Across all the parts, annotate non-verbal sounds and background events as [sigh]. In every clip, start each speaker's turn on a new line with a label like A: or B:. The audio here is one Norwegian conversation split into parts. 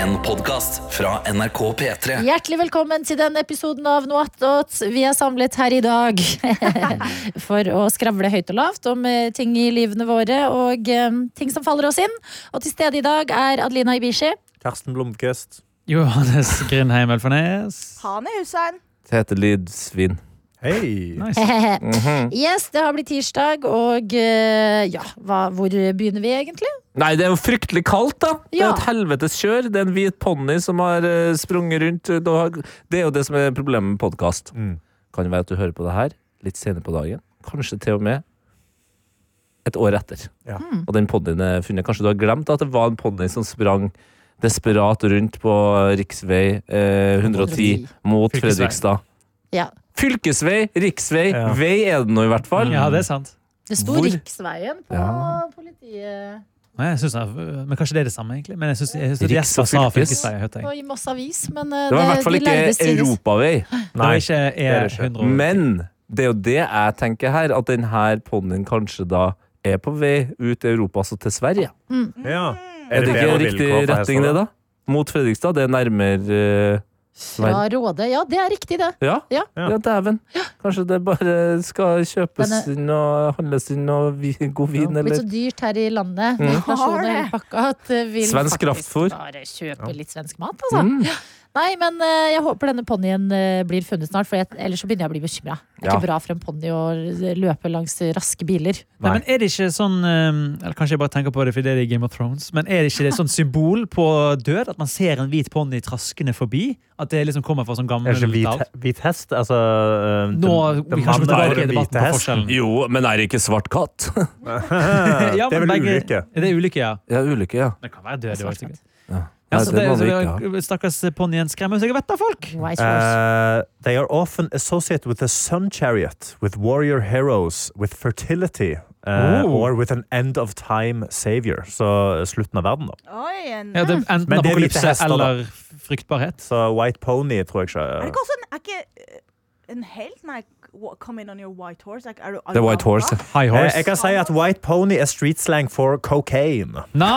A: En podcast fra NRK P3
B: Hjertelig velkommen til denne episoden av Noatot. Vi er samlet her i dag [laughs] for å skravle høyt og lavt om eh, ting i livene våre og eh, ting som faller oss inn. Og til stede i dag er Adelina [laughs] Ibishi.
C: Karsten Blomkvist.
D: Johannes Grindheim Elfernes.
E: Han er Hussein.
F: Tete Lydsvin.
C: Hei!
D: Nice.
F: Mhm.
B: Yes, det har blitt tirsdag, og eh, ja, hva, hvor begynner vi egentlig?
F: Nei, det er jo fryktelig kaldt, da! Det
B: Ja.
F: er et helvetes kjør. Det er en hvit ponni som har eh, sprunget rundt. Det har- Det er jo det som er problemet med podkast.
C: Mm.
F: Kan jo være at du hører på det her litt senere på dagen. Kanskje til og med et år etter. Mm.
C: Ja.
F: Og den ponnien er funnet. Kanskje du har glemt at det var en ponni som sprang desperat rundt på riksvei eh, 110 mot
D: Fylkesvei.
F: Fredrikstad.
B: Ja,
F: Fylkesvei, riksvei,
C: Ja.
F: vei er det nå i hvert fall.
D: Ja, det er sant.
B: det sto
F: Hvor?
B: Riksveien på
F: Ja.
B: politiet
D: Nei, jeg synes, det er- men Kanskje det er det samme, egentlig? Men jeg synes, jeg synes at
F: Riks- og
D: Jesper sa
F: fylkes.
D: fylkesvei. hørte
B: på,
D: jeg.
B: i Moss Avis, men eh,
F: Det var i hvert fall
B: de lærde
F: ikke
B: strides.
F: europavei.
D: Det var
C: Nei.
D: ikke
C: er det ikke.
D: E100.
F: Men det er jo det jeg tenker her, at denne ponnien kanskje da er på vei ut i Europa, altså til Sverige.
C: Ja.
F: Er det ikke
C: bedre
F: riktig
C: vilkår for
F: retning, det, da?
C: hester,
F: Mot Fredrikstad. Det er nærmere eh,
B: Fra Råde. Ja, det er riktig, det.
F: Ja,
B: Ja.
F: ja. dæven. Kanskje det bare skal kjøpes
B: Den er-
F: inn og handles inn og vi, god vin,
B: Det er blitt
F: eller
B: så dyrt her i landet med
F: Mm.
B: inflasjon og
E: Har det.
B: hele pakka at eh, vil
F: Svensk
B: faktisk
F: kraftfôr. Mm.
B: bare kjøpe litt svensk mat, altså. Ja. Nei, men eh, jeg håper denne ponnien eh, blir funnet snart, for jeg, ellers så begynner jeg å bli bekymra. Det er
F: Ja.
B: ikke bra for en ponni å løpe langs raske biler.
D: Nei, men er det ikke sånn eh, Eller kanskje jeg bare tenker på det fordi det er i Game of Thrones. Men er det ikke det sånn symbol på død? At man ser en hvit ponni traskende forbi? At det liksom kommer fra sånn gammel
C: Er det ikke
D: lav?
C: hvit, hvit hest? Altså eh,
D: Nå,
C: den-
D: vi
C: den
D: kan ikke gå
C: mannen er
D: tilbake
C: den hvite
D: i debatten på
C: hest. [laughs]
D: forskjellen. [laughs]
F: Jo, men er det ikke svart katt?
C: Ja, det er vel
D: begge-
C: ulykke.
D: Det er ulykke, ja.
F: ja, ulykke, ja.
D: Det kan være død, det var
F: Eh.
D: sikkert.
F: Nei,
D: Ja, så det,
F: det må
D: så
F: vi
D: det-
F: ikke
D: stakkars ponnien skremmer seg vett av folk!
B: White horse.
C: Eh, they are often associated with the sun chariot, with warrior heroes, with fertility, eh,
D: Oh.
C: or with an end of time savior. Så eh, slutten av verden, da.
E: Oi, en,
D: Ja, det er enten
C: Men det er hvite
D: apokalypse
C: hester, da.
D: eller fryktbarhet.
C: Så white pony tror jeg
E: er
C: ikke.
E: det ikke også en, er ikke eh, en helt? Nei, wha- come in on your white horse. Er, er du
F: Det er White Horse. ja.
D: High
C: Eh,
D: horse.
C: Jeg kan si at white pony er street slang for cocaine.
D: Nice!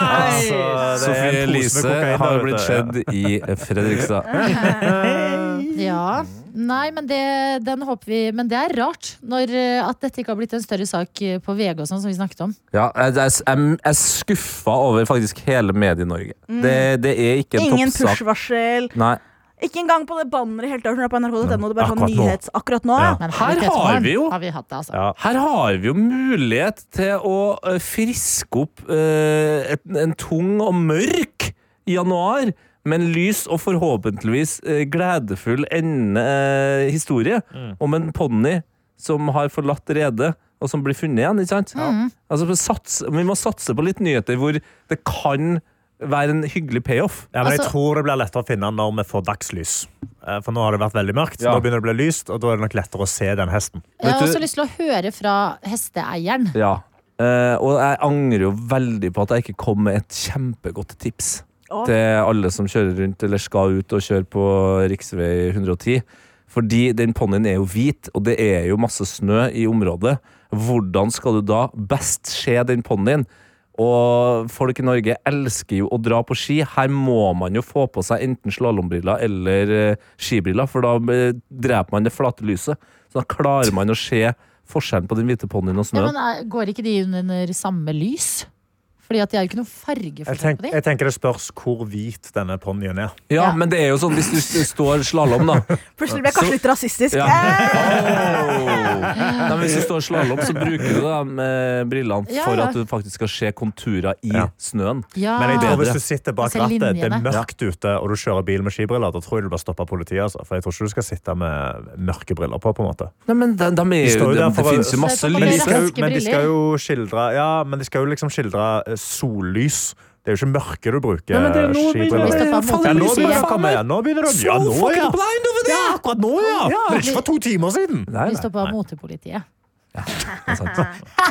C: Altså, det er
F: Sofie
C: en pose med
F: Elise
C: kokain, da,
F: har
C: vet
F: blitt
C: du.
F: skjedd i Fredrikstad. Mm.
B: Ja. Nei, men det, den håper vi Men det er rart når, eh, at dette ikke har blitt en større sak eh, på VG og sånn, som vi snakket om.
F: Ja, jeg, jeg, jeg er skuffa over faktisk hele Medie-Norge. Det, det er ikke en
E: Ingen
F: toppsak.
E: push-varsel.
F: Nei.
E: Ikke engang på det banneret helt øverst når det er på nrk.no. Det er bare sånn
C: Akkurat nå.
E: nyhets akkurat nå. Ja.
B: Men
F: Her
B: kvalitetsmorgen
F: har vi jo-
B: Har vi hatt det, altså.
C: Ja.
F: Her har vi jo mulighet til å eh, friske opp eh, et, en tung og mørk januar, men lys og forhåpentligvis eh, gledefull ende, eh, historie om en ponni som har forlatt redet, og som blir funnet igjen. ikke sant? Altså, vi, satser- vi må satse på litt nyheter hvor det kan være en hyggelig payoff.
C: Ja, men
B: Altså-
C: Jeg tror det blir lettere å finne den når vi får dagslys. Eh, For nå har det vært veldig mørkt.
F: Ja.
C: Nå begynner det å bli lyst, og da er det nok lettere å se den hesten.
B: Jeg
F: Vet
B: har
F: du-
B: også lyst til å høre fra
F: [laughs]
B: hesteeieren.
F: Ja. Eh, og jeg angrer jo veldig på at jeg ikke kom med et kjempegodt tips
E: Å.
F: til alle som kjører rundt eller skal ut og kjøre på rv. 110. Fordi den ponnien er jo hvit, og det er jo masse snø i området. Hvordan skal du da best se den ponnien? Og folk i Norge elsker jo å dra på ski. Her må man jo få på seg enten slalåmbriller eller eh, skibriller, for da eh, dreper man det flate lyset. Så da klarer man å se forskjellen på den hvite ponnien og
B: Ja,
F: snøen.
B: men eh, Går ikke de under samme lys? Fordi at de er jo ikke noen
C: Jeg,
B: fargeforskjell
C: tenk,
B: på de.
C: jeg tenker det spørs hvor hvit denne ponnien er.
F: Ja,
B: Ja.
F: men det er jo sånn hvis du s- står slalåm, da.
B: [laughs]
E: Plutselig ble jeg kanskje litt rasistisk.
F: Ja.
E: Eh,
F: Nei, men hvis du står slalåm, så bruker du da med brillene
B: Ja,
F: for
B: ja.
F: at du faktisk skal se konturer i
C: Ja.
F: snøen.
B: Ja.
C: Men jeg
F: Ah.
C: tror hvis du sitter bak
B: Altså,
C: rattet, det er
B: linjene.
C: mørkt ute, og du kjører bil med skibriller, da tror jeg du blir stoppa av politiet. Altså. For jeg tror ikke du skal sitte med mørke briller på. på en måte.
F: Nei, men de, de er
C: De
F: jo,
C: står jo
F: de,
C: der
F: det
C: for å-
F: finnes jo masse
B: Se på
C: Men de
F: lys.
B: dere.
C: skal, jo-
B: raske
C: men de skal
B: briller.
C: jo skildre Ja, men de skal jo liksom skildre eh, sollys. Det er jo ikke mørke du bruker
F: Nei, men det er nå begynner
B: Vi
C: skibriller.
B: stopper
F: det
B: mot
C: Ja,
F: faller
C: nå
F: lyset
C: begynner det å
F: faen
C: komme
F: meg.
C: igjen. Nå begynner det å Ja, nå,
F: fucking
C: ja.
F: blind over
C: Ja, akkurat nå, ja!
F: Ja.
C: Men ikke for to timer siden.
F: Nei,
B: Vi
F: nei,
B: står på motepolitiet.
F: det er sant.
B: [laughs]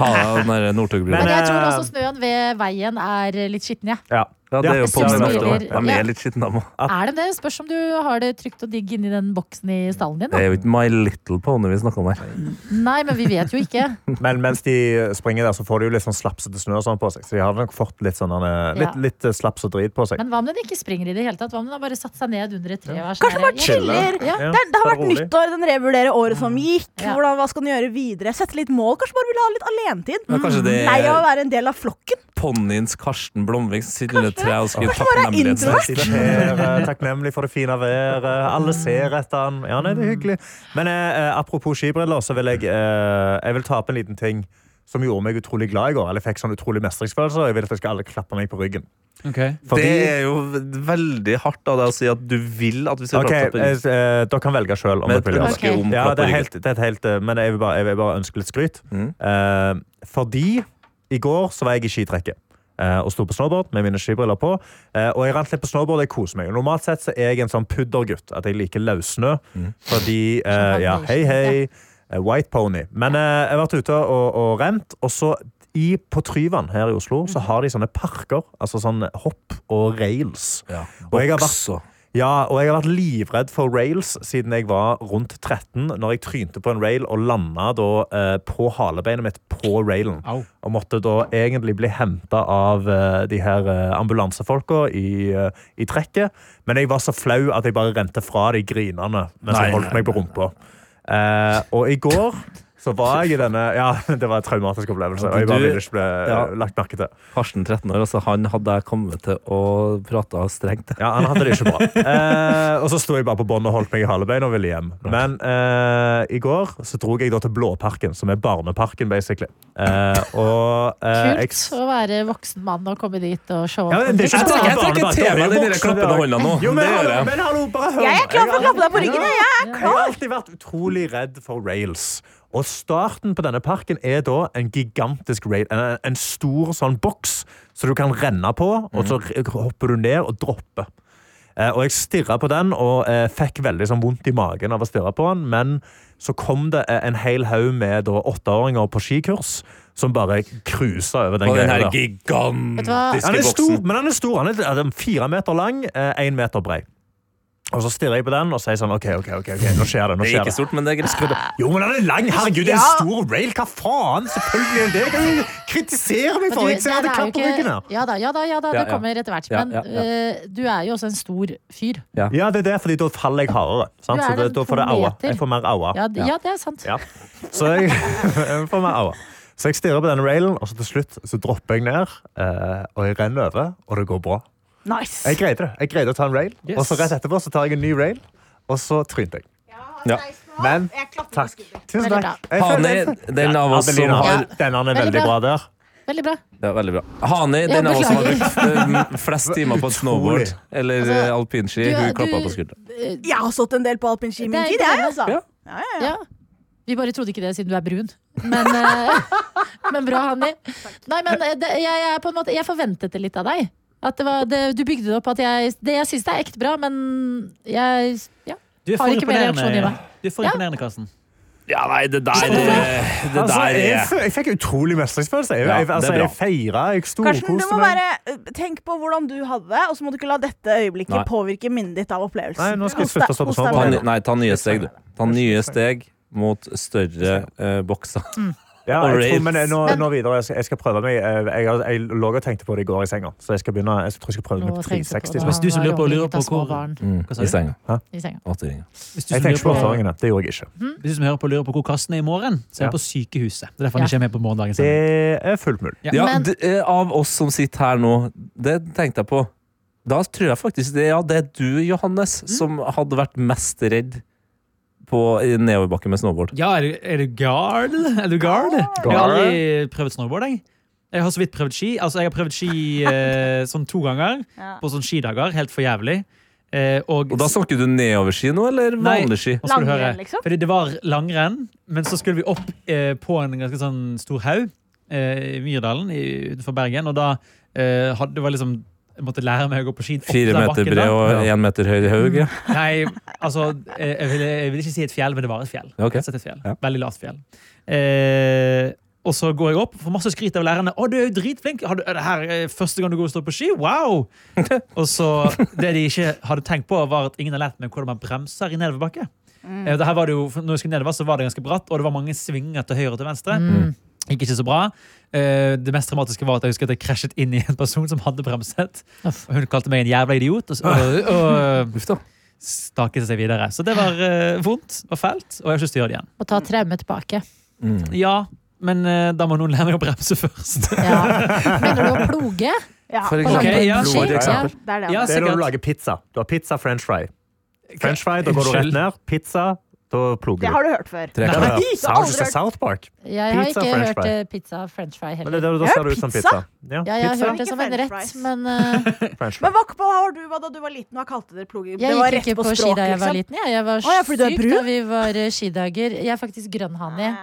F: Ta av den der Northug-brilla.
B: Men
C: Men,
B: jeg tror
C: eh,
B: også snøen ved veien er litt skitten, jeg.
C: Ja.
F: Ja, det er jo
B: Ja,
F: ponnen
C: så
F: ofte.
B: skriver-
F: også. De
B: ja.
F: er litt skitne, de òg.
B: Er det det? Spørs om du har det trygt og digg inni den boksen i stallen din.
F: Det
B: Da.
F: er jo ikke My Little Pony vi snakker om her.
B: Nei, men vi vet jo ikke.
C: [laughs] Men mens de springer der, så får de jo litt sånn slapsete snø og sånn på seg. Så de har nok fått litt, sånn, eh, litt,
B: Ja.
C: litt eh, slaps og drit på seg.
B: Men hva om den ikke springer i det hele tatt? Hva om den har bare satt seg ned under et tre? og er sånn
E: Kanskje den bare
B: der,
E: chiller.
B: Ja.
C: Ja,
E: Det, er- det har
C: bare
E: vært
C: rolig.
E: nyttår, den revurderer
F: Mm.
E: året som gikk.
B: Ja.
E: Hvordan, hva skal den gjøre videre? Sette litt mål? Kanskje bare vil ha litt Mm. alenetid?
F: Men kanskje det
E: Lei av å
F: er
E: være en del av flokken?
F: ponniens Karsten Blomvik som sitter under et tre og skriver
E: bare er
F: takknemlighetsord.
E: introvert?
C: Sitter her, eh, takknemlig for det fine været. Alle ser etter han. Ja, nei, det er hyggelig. Men eh, eh, apropos skibriller, så vil jeg, eh, jeg vil ta opp en liten ting som gjorde meg utrolig glad i går. Eller jeg fikk sånn utrolig mestringsfølelse. og Jeg vil at jeg skal alle klappe meg på ryggen.
D: Ok.
C: Fordi,
F: Det er jo veldig hardt av deg å si at du vil at vi skal
C: Ok,
F: klappe på
C: eh,
F: ryggen.
C: eh, Dere kan velge sjøl
F: Med
C: om dere
F: et
C: vil gjøre det.
F: ønske om
C: Ja,
F: klapp
C: det
F: på
C: er
F: ryggen.
C: helt, det er et helt eh, Men jeg vil bare, jeg vil bare ønske litt skryt.
F: Mm.
C: Eh, fordi i går så var jeg i skitrekket. eh, og sto på snowboard med mine skibriller på. Eh, og jeg rant litt på snowboard. Jeg koser meg. Og Normalt sett så er jeg en sånn puddergutt. At jeg liker løssnø. Fordi eh, Ja, hei, hei. eh, White pony. Men eh, jeg har vært ute og, og rent, og så i, på Tryvann her i Oslo så har de sånne parker. Altså sånn hopp og rails.
F: Ja.
C: Og jeg har vært
F: Også.
C: ja, og jeg har vært livredd for rails siden jeg var rundt 13, når jeg trynte på en rail og landa da, eh, på halebeinet mitt på railen.
D: Au.
C: Og måtte da egentlig bli henta av eh, de her eh, ambulansefolka i, eh, i trekket. Men jeg var så flau at jeg bare rente fra de grinende mens
F: Nei,
C: jeg holdt
F: nei,
C: meg på rumpa. Eh, og i går så var jeg i denne Ja, [laughs] det var en traumatisk opplevelse. Og jeg bare
F: Du-
C: ville ikke bli
F: ja.
C: lagt merke til.
F: Karsten 13 år, altså han hadde jeg kommet til å prate strengt.
C: Ja, han hadde det ikke bra. Eh, og så sto jeg bare på bånd og holdt meg i halebein og ville hjem. Men eh, i går så dro jeg da til Blåparken, som er barneparken, basically. Eh, og eh,
B: Kult å være voksen mann og komme dit og se.
C: Ja, men det er ikke
F: Jeg
C: sånn
F: trekker, jeg
C: at barnebarn-
F: trekker
C: da er
F: til meg den
C: jo
F: der
C: voksne i
F: klappende
C: dag.
F: hånda nå.
C: Jo, men
F: det gjør
C: hallo,
F: jeg.
C: men hallo, bare hør.
E: Jeg er klar for å klappe deg på ryggen, jeg. Jeg
C: Jeg har alltid vært utrolig redd for rails. Og starten på denne parken er da en gigantisk rail. En, en stor sånn boks som du kan renne på, og så
F: Mhm.
C: r- hopper du ned og dropper. Eh, og jeg stirra på den og eh, fikk veldig sånn vondt i magen av å stirre på den. Men så kom det eh, en hel haug med da, åtteåringer på skikurs som bare cruisa over den
F: Og den her
C: greia. der.
B: Vet du hva?
C: Han
F: gigantiske
C: er stor,
F: boksen.
C: men han er stor. Han er, han er fire meter lang, én meter brei. Og så stirrer jeg på den og sier sånn OK, OK, ok, ok, nå skjer det. nå
F: Det er
C: skjer
F: ikke
C: det.
F: stort, men det er greit.
C: Jo, men han er lang! Herregud, det er en stor rail! Hva faen? Selvfølgelig er det det! Kan du kritisere meg
B: Men
C: for?
B: du,
C: Jeg ser
B: der er
C: det
B: jo
C: klapp på
B: ikke-
C: ryggen her.
B: Ja da, ja da, ja da
F: Ja, ja.
B: det kommer etter hvert.
F: Ja,
B: Men
F: ja, ja.
B: eh, du er jo også en stor fyr.
C: Ja, det er det, fordi da faller jeg hardere. Sant?
B: Du er
C: Så det,
B: en
C: da får det aua.
B: pometer.
C: Jeg får mer aua.
B: Ja, d- ja det er sant.
C: Ja. Så jeg, [laughs] jeg får meg aua. Så jeg stirrer på denne railen, og så til slutt så dropper jeg ned. eh, Og jeg renner over, og det går bra.
E: Nice.
C: Jeg greide det. Jeg greide å ta en rail,
D: Yes.
C: og så rett etterpå så tar jeg en ny rail, og så trynte jeg.
F: Ja.
C: Men takk. Tusen
B: Veldig
C: takk.
B: bra.
C: Jeg føler-
F: Hane, den av oss som
C: Adelina
F: har
C: har denne er
B: Veldig
C: veldig bra der.
B: Veldig bra.
F: Ja, veldig bra. Hane,
B: Ja,
F: den av oss som har
B: beklager.
F: brukt eh,
C: [laughs]
F: flest timer på et snowboard
C: Altså,
F: eller eh, alpinski,
B: du-
F: hun klappa
B: du-
F: på skulderen.
B: Eh,
E: Jeg har stått en del på alpinski i min
B: Det er
E: tid, jeg,
B: imponerende.
E: altså.
F: Ja.
E: Ja, ja, ja.
B: ja. Vi bare trodde ikke det siden du er brun. Men, eh, [laughs] men bra, Hanni. Nei, men eh, det, jeg, jeg, er på en måte, jeg forventet det litt av deg. At det var, det, du bygde det opp at jeg Det jeg syns det er ekte bra, men jeg ja.
D: Du er
B: Har
D: for
B: ikke mer reaksjon i
D: imponerende,
B: meg.
D: Du er for
B: Ja.
D: imponerende, Karsten.
F: Ja, nei, det der eh, Det
C: Altså,
F: der
C: jeg,
F: er
C: f- jeg fikk utrolig mestringsfølelse. Jeg,
F: Ja,
C: jeg,
F: det er
C: altså,
F: bra.
C: jeg feira, jeg
E: Karsten, du
C: storkoste
E: må
C: meg.
E: bare eh, tenk på hvordan du hadde det, og så må du ikke la dette øyeblikket
F: Nei.
E: påvirke minnet ditt av opplevelsen.
C: Nei, nå skal jeg
E: Kos deg-
C: slutte å stå på
E: kos deg
F: ta,
C: snowboard.
E: med
F: ny-
E: det.
F: Nei, ta nye steg, du. Ta nye steg mot større eh, bokser.
C: Ja, jeg tror, men jeg- nå,
B: Men-
C: nå videre, jeg skal, jeg skal prøve meg. Jeg, jeg, jeg lå og tenkte på det i går i senga, så jeg, skal begynne, jeg tror jeg skal prøve meg
B: Nå
C: på
B: tenkte jeg på
C: 360.
B: det.
D: Hvis du som
B: Han
D: lurer på-
B: var omringet
D: lurer
B: av
D: på hvor-
B: små barn
F: Mm,
D: Hva sa
F: I
D: du?
F: senga.
B: i senga.
F: Åtteringer.
D: Hvis
C: Jeg
D: du, som
C: tenkte ikke på
D: lurer på,
C: åtteåringene. Det gjorde jeg ikke.
D: hvis du som hører på lurer på hvor Karsten er i morgen, så er han
C: Ja.
D: på sykehuset. Det er derfor
B: Ja.
D: han ikke er med på morgendagen.
C: Det
D: Det...
C: er fullt mulig.
D: Ja.
F: Ja,
B: Men-
F: d- eh, av oss som sitter her nå, det tenkte jeg på. Da tror jeg faktisk det, ja, det er du, Johannes, som hadde vært mest redd på i nedoverbakke med snowboard.
D: Ja, er du, er du guard? Er du guard? Jeg har aldri prøvd snowboard, jeg. Jeg har så vidt prøvd ski. Altså, jeg har prøvd ski eh, sånn to ganger
E: Ja.
D: på sånn skidager. Helt for jævlig. Eh, og,
F: Og da snakker du nedoverski nå, eller
D: Nei.
F: vanlig ski?
D: Nå skal du
E: Langrenn,
D: høre.
E: liksom?
D: Fordi det var langrenn, men så skulle vi opp eh, på en ganske sånn stor haug eh, i Myrdalen i- utenfor Bergen. Og da eh, hadde det var liksom jeg måtte lære meg å gå på ski. opp
F: Fire
D: den
F: meter
D: bakken
F: bred
D: da.
F: og én meter høy haug, ja.
D: Nei, altså eh, jeg vil, jeg vil ikke si et fjell, men det var et fjell.
F: Ja, ok.
D: Rett og slett et fjell.
F: Ja.
D: Veldig lavt fjell. Eh, Og så går jeg opp, får masse skryt av lærerne. 'Å, du er jo dritflink! Har du, er det her eh, første gang du går og står på ski?
F: [laughs]
D: Wow!' og så Det de ikke hadde tenkt på, var at ingen har lært meg hvordan man bremser i nedoverbakke. Eh, og det her var det jo, når jeg skulle nedover, så var det ganske bratt, og det var mange svinger til høyre og til venstre.
B: Mm.
D: Gikk ikke så bra. Eh, Det mest dramatiske var at jeg husker at jeg krasjet inn i en person som hadde bremset. Og hun kalte meg en jævla idiot. Og, så-
F: [laughs]
D: og, og
F: Uff da.
D: staket seg videre. Så det var eh, vondt og fælt, og jeg har ikke lyst til å gjøre det igjen.
B: Og ta traumet tilbake.
F: Mm.
D: Ja, men eh, da må noen lære meg å bremse først. [laughs]
B: Ja. Mener du å ploge?
E: Ja,
F: For
B: På
F: eksempel.
B: langt
D: Ok, ja.
B: ski?
F: Ploge,
B: Ja.
F: eksempel.
E: det er det.
D: Ja,
E: altså.
C: Det er når du
D: sikkert.
C: lager pizza. Du har pizza french fry. French fry, Da går du rett
D: Unnskyld.
C: ned. Pizza, da ploger
E: Det
C: du.
E: har du hørt før.
F: Tre.
C: Det er
D: Nei,
C: det.
E: jeg har aldri
C: Sounds-
E: hørt-
C: South Park.
B: Jeg har
C: Pizza,
B: ikke
C: french
B: hørt
C: fry.
B: eh, pizza french fry
C: Men det,
B: heller.
C: da, da
E: Jeg har
C: ser det ut som pizza. Ja,
B: Ja, jeg har
C: pizza.
B: hørt det som en
E: Ikke
B: rett,
E: french fries.
B: men
E: [laughs]
B: eh,
C: French fry.
E: Men hva, hva var du hva da du var liten? Hva kalte dere ploging?
B: jeg
E: det var
B: gikk
E: rett
B: ikke på ski
E: språk,
B: da jeg var
E: liksom.
B: liten. Jeg, jeg var
E: Å, ja, fordi du er
B: syk
E: brun? Ah.
B: da vi var eh, skidager. Jeg er faktisk grønnhani.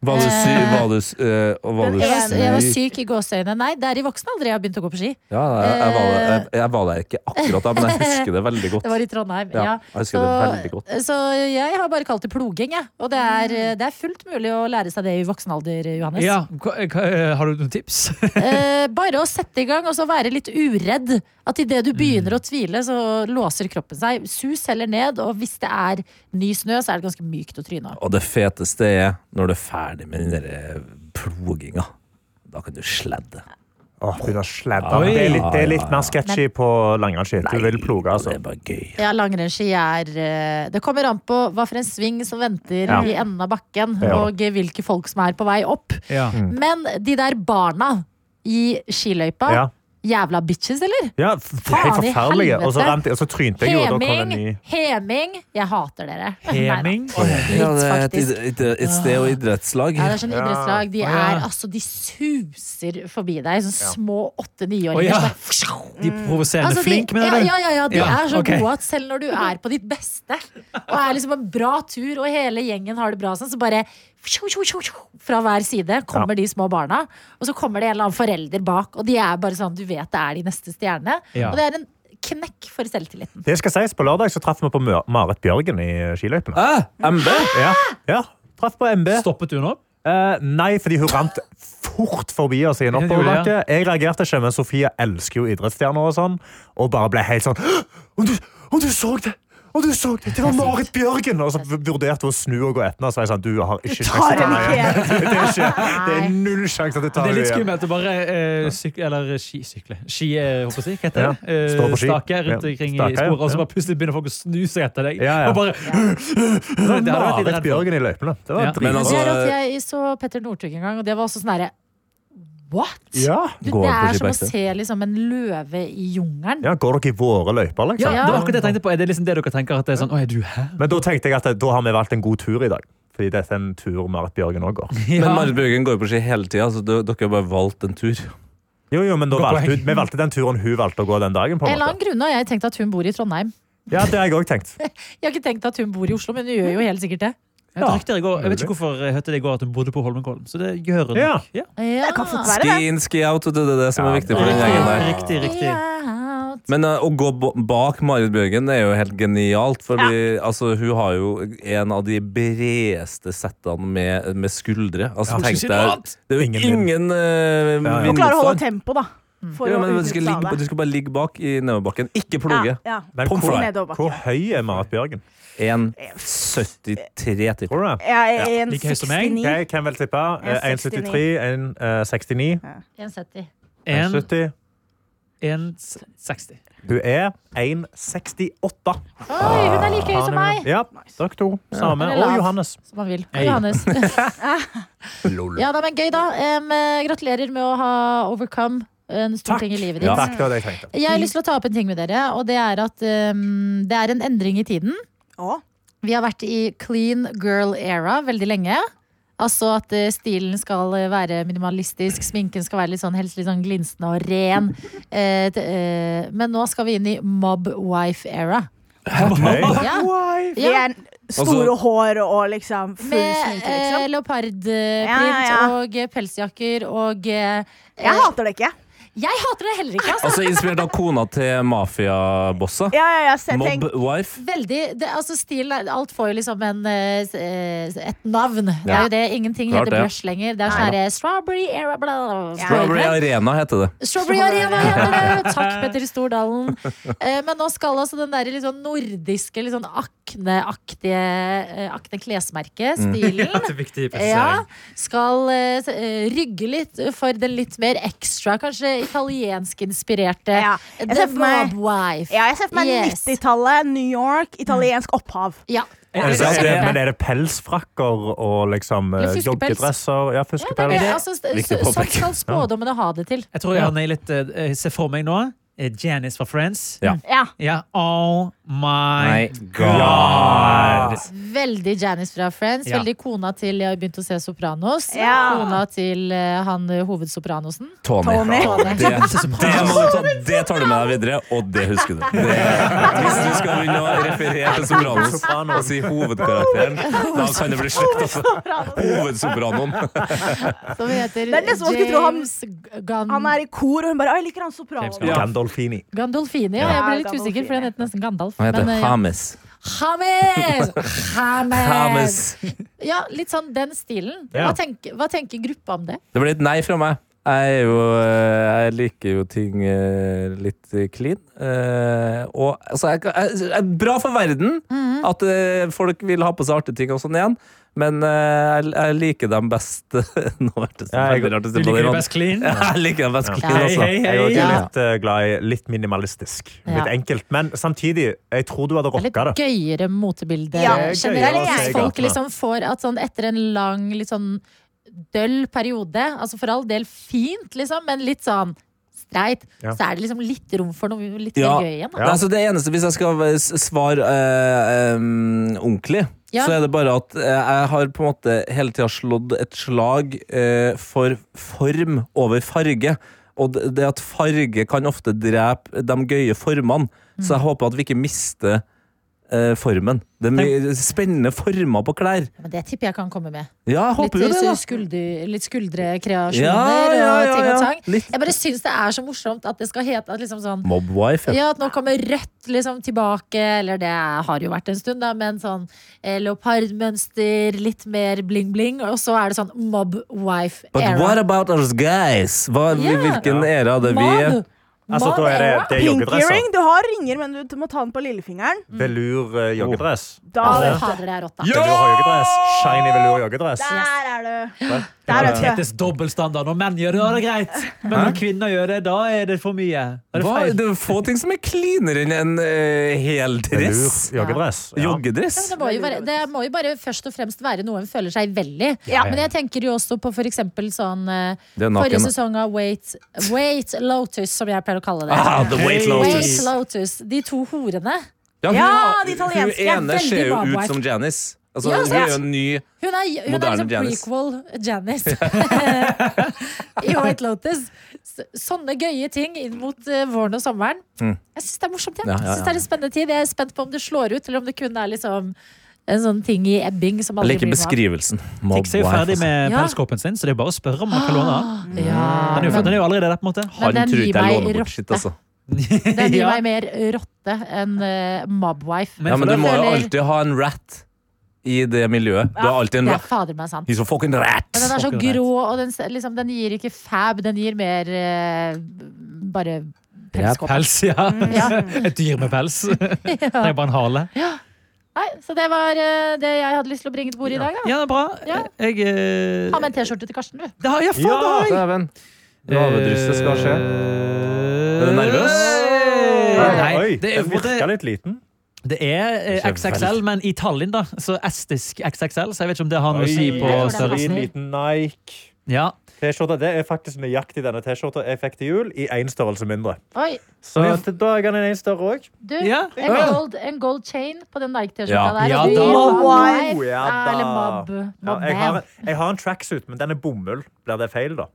F: Var du sy... Var du, s- eh, og var du
B: Jeg var, jeg var
F: syk?
B: syk i gåseøynene. Nei, det er i voksen alder jeg har begynt å gå på ski.
F: Ja, jeg, jeg, var, der- jeg, jeg var der ikke akkurat da,
B: [laughs]
F: men jeg husker det veldig godt.
B: Det var i Trondheim.
F: Ja,
B: Ja.
F: jeg husker det veldig godt.
B: så jeg har bare kalt det ploging, jeg. Og det er,
E: Mm.
B: det er fullt mulig å lære seg det i voksen alder, Johannes.
D: Ja, hva- hva- har du noen tips?
B: [laughs] Eh, bare å sette i gang og så være litt uredd. At idet du
F: Mm.
B: begynner å tvile, så låser kroppen seg. Sus heller ned, og hvis det er ny snø, så er det ganske mykt å tryne av.
F: Og det feteste er når du er ferdig med den der eh, ploginga. Da kan du sledde.
C: Åh, du har sladda.
D: Oi.
C: Det er litt, det er litt mer sketchy på langrennsski. Du vil ploge, altså.
F: Det er bare gøy.
B: Ja, langrennsski er eh, Det kommer an på hva for en sving som venter
C: Ja.
B: i enden av bakken,
C: Ja. Mm.
B: og hvilke folk som er på vei opp.
D: [laughs] Ja.
B: Men de der barna i skiløypa,
C: Ja.
B: jævla bitches, eller?
C: Ja, f- helt
B: Faen i
C: forferdelig. Og så,
B: helvete.
C: rant, jeg- og så trynte jeg jo, og da kom en ny.
B: Heming! Heming! Jeg hater dere. [laughs] Nei da.
D: Heming.
F: Ja, det er et,
B: faktisk. Ah.
F: id- et, et sted og idrettslag.
B: Ja, det er sånn
C: Ja.
B: idrettslag. De
D: Å, ja.
B: er altså De suser forbi deg. Sånn små
D: Å,
B: åtte-niåringer.
D: ja.
B: som bare-
D: De provoserende
B: Altså, de-
D: flink, mener
B: ja,
D: du?
B: ja, ja, ja, de
D: Ja,
B: er så
D: ok.
B: gode at selv når du er på ditt beste og er liksom en bra tur, og hele gjengen har det bra, sånn, så bare tjo, tjo, tjo, tjo, fra hver side kommer de små barna. Og så kommer det en eller annen forelder bak, og de er bare sånn Du vet det er de neste stjernene.
D: Ja.
B: Og det er en knekk for selvtilliten.
C: Det skal sies, på lørdag så traff vi på Mø- Marit Bjørgen i skiløypene.
F: Hæ? MB?
C: Ja, ja. Traff på MB.
D: Stoppet du nå?
C: Eh, nei, fordi hun rant fort forbi oss i en
D: Ja, hun gjorde det,
C: oppoverbakke. Jeg reagerte ikke, men Sofie elsker jo idrettsstjerner og sånn, og bare ble helt sånn «Hå! Om du, om du så det! Om du så det! Det var Marit Bjørgen! Og så v- vurderte hun å snu og gå etter henne og så er jeg sånn Du har ikke sjanse
E: Tar
C: til
E: en
C: meg igjen. [laughs]
E: ikke.
C: Det er, ikke, det er null sjanse til å ta
D: Det er
C: henne
D: litt
C: igjen.
D: skummelt å bare eh, sykle Eller ski, sykle. Ski, eh, håper jeg, å si, hva heter
C: Ja,
D: det? Eh,
C: stå på ski.
D: Stake rundt
C: Ja,
D: omkring
C: stake,
D: i
C: ja.
D: sporet, og
C: Ja.
D: så bare plutselig begynner folk å snu seg etter deg.
C: Ja, ja.
D: Og [gasps] bare,
C: Det var
D: Det hadde vært litt
C: Marit
D: redd for.
C: Bjørgen i løypene. Det var
D: Ja.
F: Men
C: dritbra.
B: Men det er
F: altså,
B: at jeg så Petter Northug en gang, og det var også sånn herre What?!
C: Ja.
B: Du,
F: Går
B: det
F: han på
B: er som å
F: skibakke?
B: se liksom, en løve i jungelen.
C: ja, går dere i våre løyper,
D: ja,
C: liksom?
D: det var akkurat det jeg tenkte på. Er det liksom det dere tenker? At det er sånn, Å, er du her?
C: Men da tenkte jeg at eh, da har vi valgt en god tur i dag. Fordi dette er en tur Marit Bjørgen òg
D: [laughs]
C: går.
F: Men Marit Bjørgen går jo på ski hele tida, så d- dere har bare valgt en tur.
C: Jo, jo, men da
D: Godt
C: valgte,
D: poeng.
C: hun- vi valgte den turen hun valgte å gå den dagen. på
B: En
C: en
B: eller
C: måte.
B: annen grunn har jeg tenkt at hun bor i Trondheim.
C: Ja, det har jeg også tenkt.
B: Jeg har ikke tenkt at hun bor i Oslo, men hun gjør jo helt sikkert det.
D: Jeg,
C: Ja.
D: rykter i går, jeg vet ikke hvorfor jeg hørte det i går at hun bodde på Holmenkollen. Så det gjør hun
C: Ja.
D: nok. Ja.
B: Ja.
E: kan fort være
F: Ski
E: det.
F: in, ski out, og det er det som
C: Ja,
F: er viktig for den
B: det-
F: gjengen der.
D: Riktig, riktig.
B: Ja.
F: Men eh, å gå ba- bak Marit Bjørgen er jo helt genialt. Fordi, altså, hun har jo en av de bredeste settene med, med skuldre. Altså,
D: Ja.
F: tenk deg, det er jo
C: Ingen
F: ingen, ingen eh,
C: ja.
E: Du klarer å holde
F: vindmotstand.
E: tempo, da. For
F: Ja, men
E: å
F: du, skal ligge, du skal bare ligge bak i nedoverbakken. Ikke ploge.
E: Ja, ja.
C: Men
F: Pommes
C: hvor,
E: frites. Nedoverbakke.
C: hvor høy er Marit Bjørgen?
F: 1,73 til.
C: Tror du det?
E: Jeg er en
D: Like høy som meg.
E: 69.
C: Jeg kan vel tippe eh, 1,73, eh, 1,69,
B: 1,70.
C: 1,70.
D: 1,60.
C: Hun er 1,68.
B: Oi, hun er like høy som meg!
C: Ja, dere to. Samme.
B: Hun er
C: Og
B: lav.
C: Johannes.
B: Som han vil.
D: Hei.
B: Johannes.
C: Lol.
B: Ja, da, men gøy, da. Em, eh, gratulerer med å ha overcome eh, en stor
C: Takk.
B: ting i livet ditt.
F: Ja.
C: Takk, det var det jeg tenkte.
B: Jeg har lyst til å ta opp en ting med dere, og det er at em, det er en endring i tiden.
E: Å,
B: Vi har vært i clean girl era veldig lenge. Altså at eh, stilen skal eh, være minimalistisk, sminken skal være litt sånn, helst litt sånn glinsende og ren. Eh, t- eh, men nå skal vi inn i mob wife era.
C: Ok.
B: Ja.
E: Vi
B: Ja,
E: er store hår og liksom full
B: med eh,
E: sminke, liksom.
B: leopardprint
E: Ja, ja, ja.
B: og eh, pelsjakker og eh,
E: Jeg hater det ikke.
B: Jeg hater det heller ikke. Altså.
F: Altså Inspirert av kona til mafiabosser.
E: Ja, ja, ja, så jeg
F: Mob
E: tenk,
F: wife.
B: Veldig, det, altså stil, er- Alt får jo liksom en, eh, s- eh, et navn. Det er
F: Ja.
B: jo det. Ingenting
F: Klart
B: heter
F: det.
B: brush lenger. Det er sånn her, eh, Strawberry Era bla, bla, bla.
F: Strawberry Arena heter det.
B: Strawberry Arena heter det! Takk, Petter Stordalen. Eh, Men nå skal altså den der litt sånn nordiske, litt sånn akneaktige eh,
F: Mm.
B: Akne-klesmerket-stilen
D: Det er viktig
B: ja,
D: presisering.
B: skal eh, s- eh, rygge litt for den litt mer ekstra, kanskje italienskinspirerte
E: Ja, jeg
B: The
E: ser for meg-
B: Mob Wife.
E: ja, jeg ser for meg
B: Yes. Mm.
E: 90-tallet, New York, italiensk opphav.
B: Ja.
C: Er det,
B: sant?
C: er det, men er det pelsfrakker og liksom eh,
B: Eller fiskepels.
C: joggedresser?
B: Ja,
C: Ja,
B: det er det.
C: fiskepels.
B: Altså, s-
F: Viktig å
B: så- sånn
F: påpeke.
B: skal spådommene ha det til.
D: Jeg tror jeg har nailet eh, eh, Se for meg nå eh, Janice fra Friends.
F: Ja.
E: Ja.
D: Ja, Oh my
F: My
D: god.
B: Veldig Janice fra Friends.
D: Ja.
B: Veldig kona til Jeg har begynt å se Sopranos.
E: Ja.
B: Kona til eh, han eh, hovedsopranosen.
F: Tony.
E: Tony.
F: Det, det, må du ta, det tar du med deg videre, og det husker du. Det, hvis du skal begynne å referere til
C: [laughs]
F: Sopranos og si hovedkarakteren, da kan det bli slutt. Altså. Hovedsopranoen.
B: Som heter
E: Det er nesten man skulle tro han-
B: James Gan
E: Han er i kor, og hun bare «Å, 'Jeg liker han sopranen'.
F: Ja.
C: Gandolfini.
B: Gandolfini. Ja, jeg ble litt usikker, for den het nesten Gandalf.
F: Han heter
B: men, eh, ja.
F: Hames.
B: Hames! Hames!
F: Hames.
B: Ja, litt sånn den stilen.
C: Ja.
B: Hva, tenker, hva tenker gruppa om det?
F: Det ble et nei fra meg. Jeg, er jo, eh, jeg liker jo ting eh, litt eh, clean. Eh, Og altså, jeg, kan- jeg, jeg, bra for verden at eh, folk vil ha på seg artige ting og sånn igjen. Men eh, jeg, jeg liker dem best [laughs] Nå hørtes det
C: Ja, jeg-
F: veldig rart ut.
D: Du
F: på den
D: liker det
F: måten.
D: best clean?
F: Ja, Jeg liker dem best clean,
B: Ja.
F: altså.
D: Hei, hei,
C: Jeg er
D: hei.
C: også
B: Ja.
C: litt eh, glad i litt minimalistisk.
B: Ja.
C: Litt enkelt. Men samtidig, jeg tror du hadde
B: Det er
C: rocka
B: Litt
C: det.
B: gøyere motebilde
E: Ja,
C: det er gøy
B: generelt.
E: å se
B: Hvis folk
C: gatene.
B: liksom får at sånn etter en lang, litt sånn døll periode Altså for all del fint, liksom, men litt sånn streit,
C: Ja.
B: så er det liksom litt rom for noe litt
F: Ja.
B: mer gøy igjen. Da.
C: Ja.
F: Nei, altså det eneste, Hvis jeg skal eh, s- svare eh, em, ordentlig,
B: Ja.
F: så er det bare at eh, jeg har på en måte hele tida slått et slag eh, for form over farge. Og det, det at farge kan ofte drepe de gøye formene, så
B: Mm.
F: jeg håper at vi ikke mister eh, formen. Det er mye spennende former på klær.
B: Men det tipper jeg kan komme med.
F: Ja, jeg
B: Litt,
F: håper jo det, da.
B: skulder, litt skuldrekreasjoner
F: Ja, ja, ja,
B: og ting og
F: ja.
B: tang.
F: Litt
B: Jeg bare syns det er så morsomt at det skal hete at liksom sånn
F: mobwife. Ja.
B: Ja, at nå kommer rødt liksom tilbake, eller det har jo vært en stund, da, men sånn eh, leopardmønster, litt mer bling-bling, og så er det sånn mob wife
F: But
B: era.
F: what about us guys? Hva,
B: Ja.
F: Hvilken ære hadde vi?
B: Mob!
C: Altså,
B: Mob
C: da er det,
B: era?
C: det er
E: Pinky-ring.
C: joggedresser.
E: Du har ringer, men du, du må ta den på lillefingeren.
C: Velur eh,
D: Oh.
C: joggedress.
E: Da,
B: Ja,
E: vet du.
B: fader, det er rått, da.
F: Ja!
C: Velur joggedress. Shiny velur joggedress.
E: Der er du.
C: Der.
E: Der, vet du.
D: Tetes dobbeltstandard. Når menn gjør det, da er det greit. Men når kvinner gjør det, da er det for mye. Da er det
F: Hva?
D: feil.
F: Det er få ting som er cleanere enn en eh, hel
C: Velur
F: dress.
C: joggedress. Ja.
B: Ja, men
F: Joggedress.
B: det, må jo være, det må jo bare først og fremst være noe en føler seg vel i.
E: Ja.
B: Men jeg tenker jo også på for eksempel sånn eh,
F: Det er naken,
B: Forrige
F: da.
B: sesong av Wait, Wait Lotus, som jeg pleier å kalle det.
F: Ah, the Weight
D: Hey.
F: Lotus.
B: Wait Lotus. De to horene.
F: Ja, hun,
E: Ja, de italienske er
F: Hun ene
B: veldig
F: ser jo
B: bra,
F: ut
B: Mark.
F: som Janice. Altså,
B: Ja,
F: hun er
E: sant.
F: jo en ny
B: Hun er, hun er
F: Moderne
B: liksom
F: Janice.
B: prequel
F: [laughs]
B: Janice [laughs] i White Lotus. Så, sånne gøye ting inn mot eh, våren og sommeren.
F: Mm.
B: Jeg syns det er morsomt. Jeg
F: Ja, ja, ja.
B: synes det er en spennende tid. Jeg er spent på om det slår ut, eller om det kun er liksom en sånn ting i ebbing som
F: Jeg
B: aldri
F: liker
B: blir noe av.
F: beskrivelsen. Mob
D: Tix er jo
F: wife,
D: ferdig
F: altså.
D: med
B: Ja.
D: pelskåpen sin, så det er bare å spørre om man kan låne den.
B: Ja,
D: Han er jo, han
B: men
D: er jo allerede der, på en måte.
B: Men
F: Han
B: den
F: tror
B: gir
F: ikke jeg
B: meg
F: låner bort sitt,
B: rotte.
F: altså.
B: den gir
D: [laughs] Ja.
B: meg mer rotte enn eh, mobwife.
D: Men
F: Ja, men
D: for
F: du
D: da
F: må jo
B: føler-
F: alltid ha en rat i det miljøet. Du har alltid en
B: Det er
F: rat.
B: fader meg sant.
F: He's a fucking rat!
B: Men den er så
D: Fucking
B: grå, og den, s- liksom, den gir ikke fab, den gir mer eh, bare pelskåpe.
D: Pels, ja.
B: Mm, Ja.
D: Et dyr med
B: [laughs]
D: pels. Det er bare en hale.
B: Nei, så det var eh, det jeg hadde lyst til å bringe til bordet i dag. Da.
D: Ja, bra.
B: Ja.
D: Jeg eh,
B: Ha med en T-skjorte til Karsten, du.
D: det har jeg faen, det har jeg!
F: Dæven. Gavedrysset skal skje. Er du nervøs?
D: Eh, Nei,
C: Oi,
D: det er,
C: den virka litt liten.
D: det er eh,
F: Kjempe-
D: XXL, men i Tallinn, da. Så estisk XXL, så jeg vet ikke om det har noe å si på
B: Oi.
D: størrelse.
C: en liten Nike.
D: Ja.
C: T-skjorta, Det er faktisk nøyaktig denne T-skjorta jeg fikk til jul, i én størrelse mindre.
B: Oi,
C: Så til dagene er én større òg.
B: du,
D: Ja.
B: en, gold, en gold chain på den Nike-T-skjorta
F: Ja.
B: der.
D: Ja
B: og du
D: da.
B: gir mob
E: Wow,
B: wife,
C: ja da.
B: Eller mob.
C: Ja,
B: mob
C: jeg, har,
B: man.
C: jeg har en tracksuit, men den er bomull. Blir det feil, da?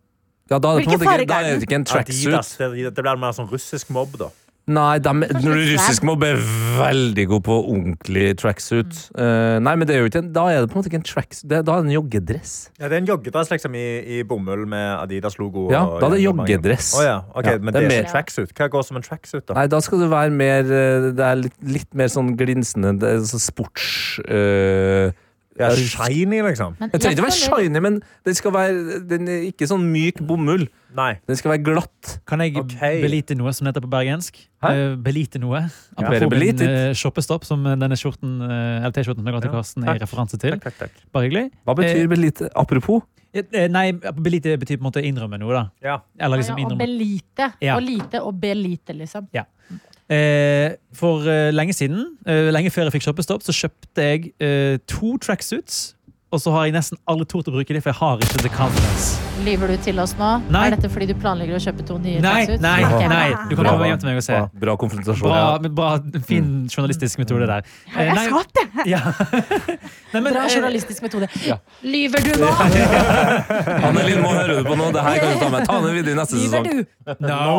F: Ja, da er det på en måte
E: Hvilken
F: ikke,
E: farge
F: da
E: er
F: er
E: den?
F: det ikke en tracksuit.
C: Adidas, det, det blir mer sånn russisk mobb, da.
F: Nei, dem-
B: Kanskje
F: når du
B: litt
F: russisk mobb er veldig god på ordentlig tracksuit. Eh, nei, men det er jo ikke en, da er det på en måte ikke en tracksuit, det, da er det en joggedress.
C: Ja, det er en joggedress liksom, i, i bomull med Adidas-logo.
F: Ja,
C: og-
F: da er det joggedress.
C: Å ja. ok,
F: Ja, det
C: men det
F: er
C: er
B: mer-
C: ikke tracksuit. Hva går som en tracksuit, da?
F: Nei, da skal du være mer eh, Det er litt, litt mer sånn glinsende, det er sånn sports... eh,
C: Ja, shiny, liksom?
B: Men
F: jeg trenger ikke å
B: jeg
F: være
B: føler-
F: shiny, men den skal være den er ikke sånn myk bomull.
C: Nei.
F: Den skal være glatt.
D: Kan jeg
C: Ok.
D: belite noe, som det heter på bergensk?
F: Hæ?
D: Eh, belite noe.
F: Bare
D: Apropos min
F: belite.
D: eh, shoppestopp, som denne skjorten, eh, LT-skjorten som jeg ga til
C: Ja,
D: Karsten,
C: takk.
D: er referanse til.
C: Takk, takk, takk.
D: Bare hyggelig.
F: Hva betyr belite? Apropos.
D: Eh, Nei, belite betyr på en måte innrømme noe, da.
C: Ja.
D: Eller
B: Ja,
D: liksom
B: og
D: innrømme.
B: belite.
D: Ja.
B: Og lite og belite, liksom.
D: Eh, for eh, lenge siden, eh, lenge før jeg fikk shoppestopp, så kjøpte jeg eh, to tracksuits. Og så har jeg nesten aldri tort å bruke dem, for jeg har ikke the confidence.
B: Lyver du til oss nå?
D: Nei.
B: Er dette fordi du planlegger å kjøpe to nye
D: Nei,
B: tracksuits?
D: nei,
B: Ok.
D: nei. Du kan
F: Bra.
D: komme hjem til meg og se.
F: Bra, bra konfrontasjon.
D: Bra, Mm. men bra, fin journalistisk metode der. Eh,
E: Jeg
D: nei-
E: satt det!
D: Ja. [laughs] Nei, men,
B: Bra
D: eh,
B: journalistisk metode.
F: Ja.
B: Lyver du nå?
F: Annelin, må høre du på nå. Det her kan du ta med. Ta den videre i neste
B: Lyver
D: sånn.
F: sesong.
B: du?
D: No,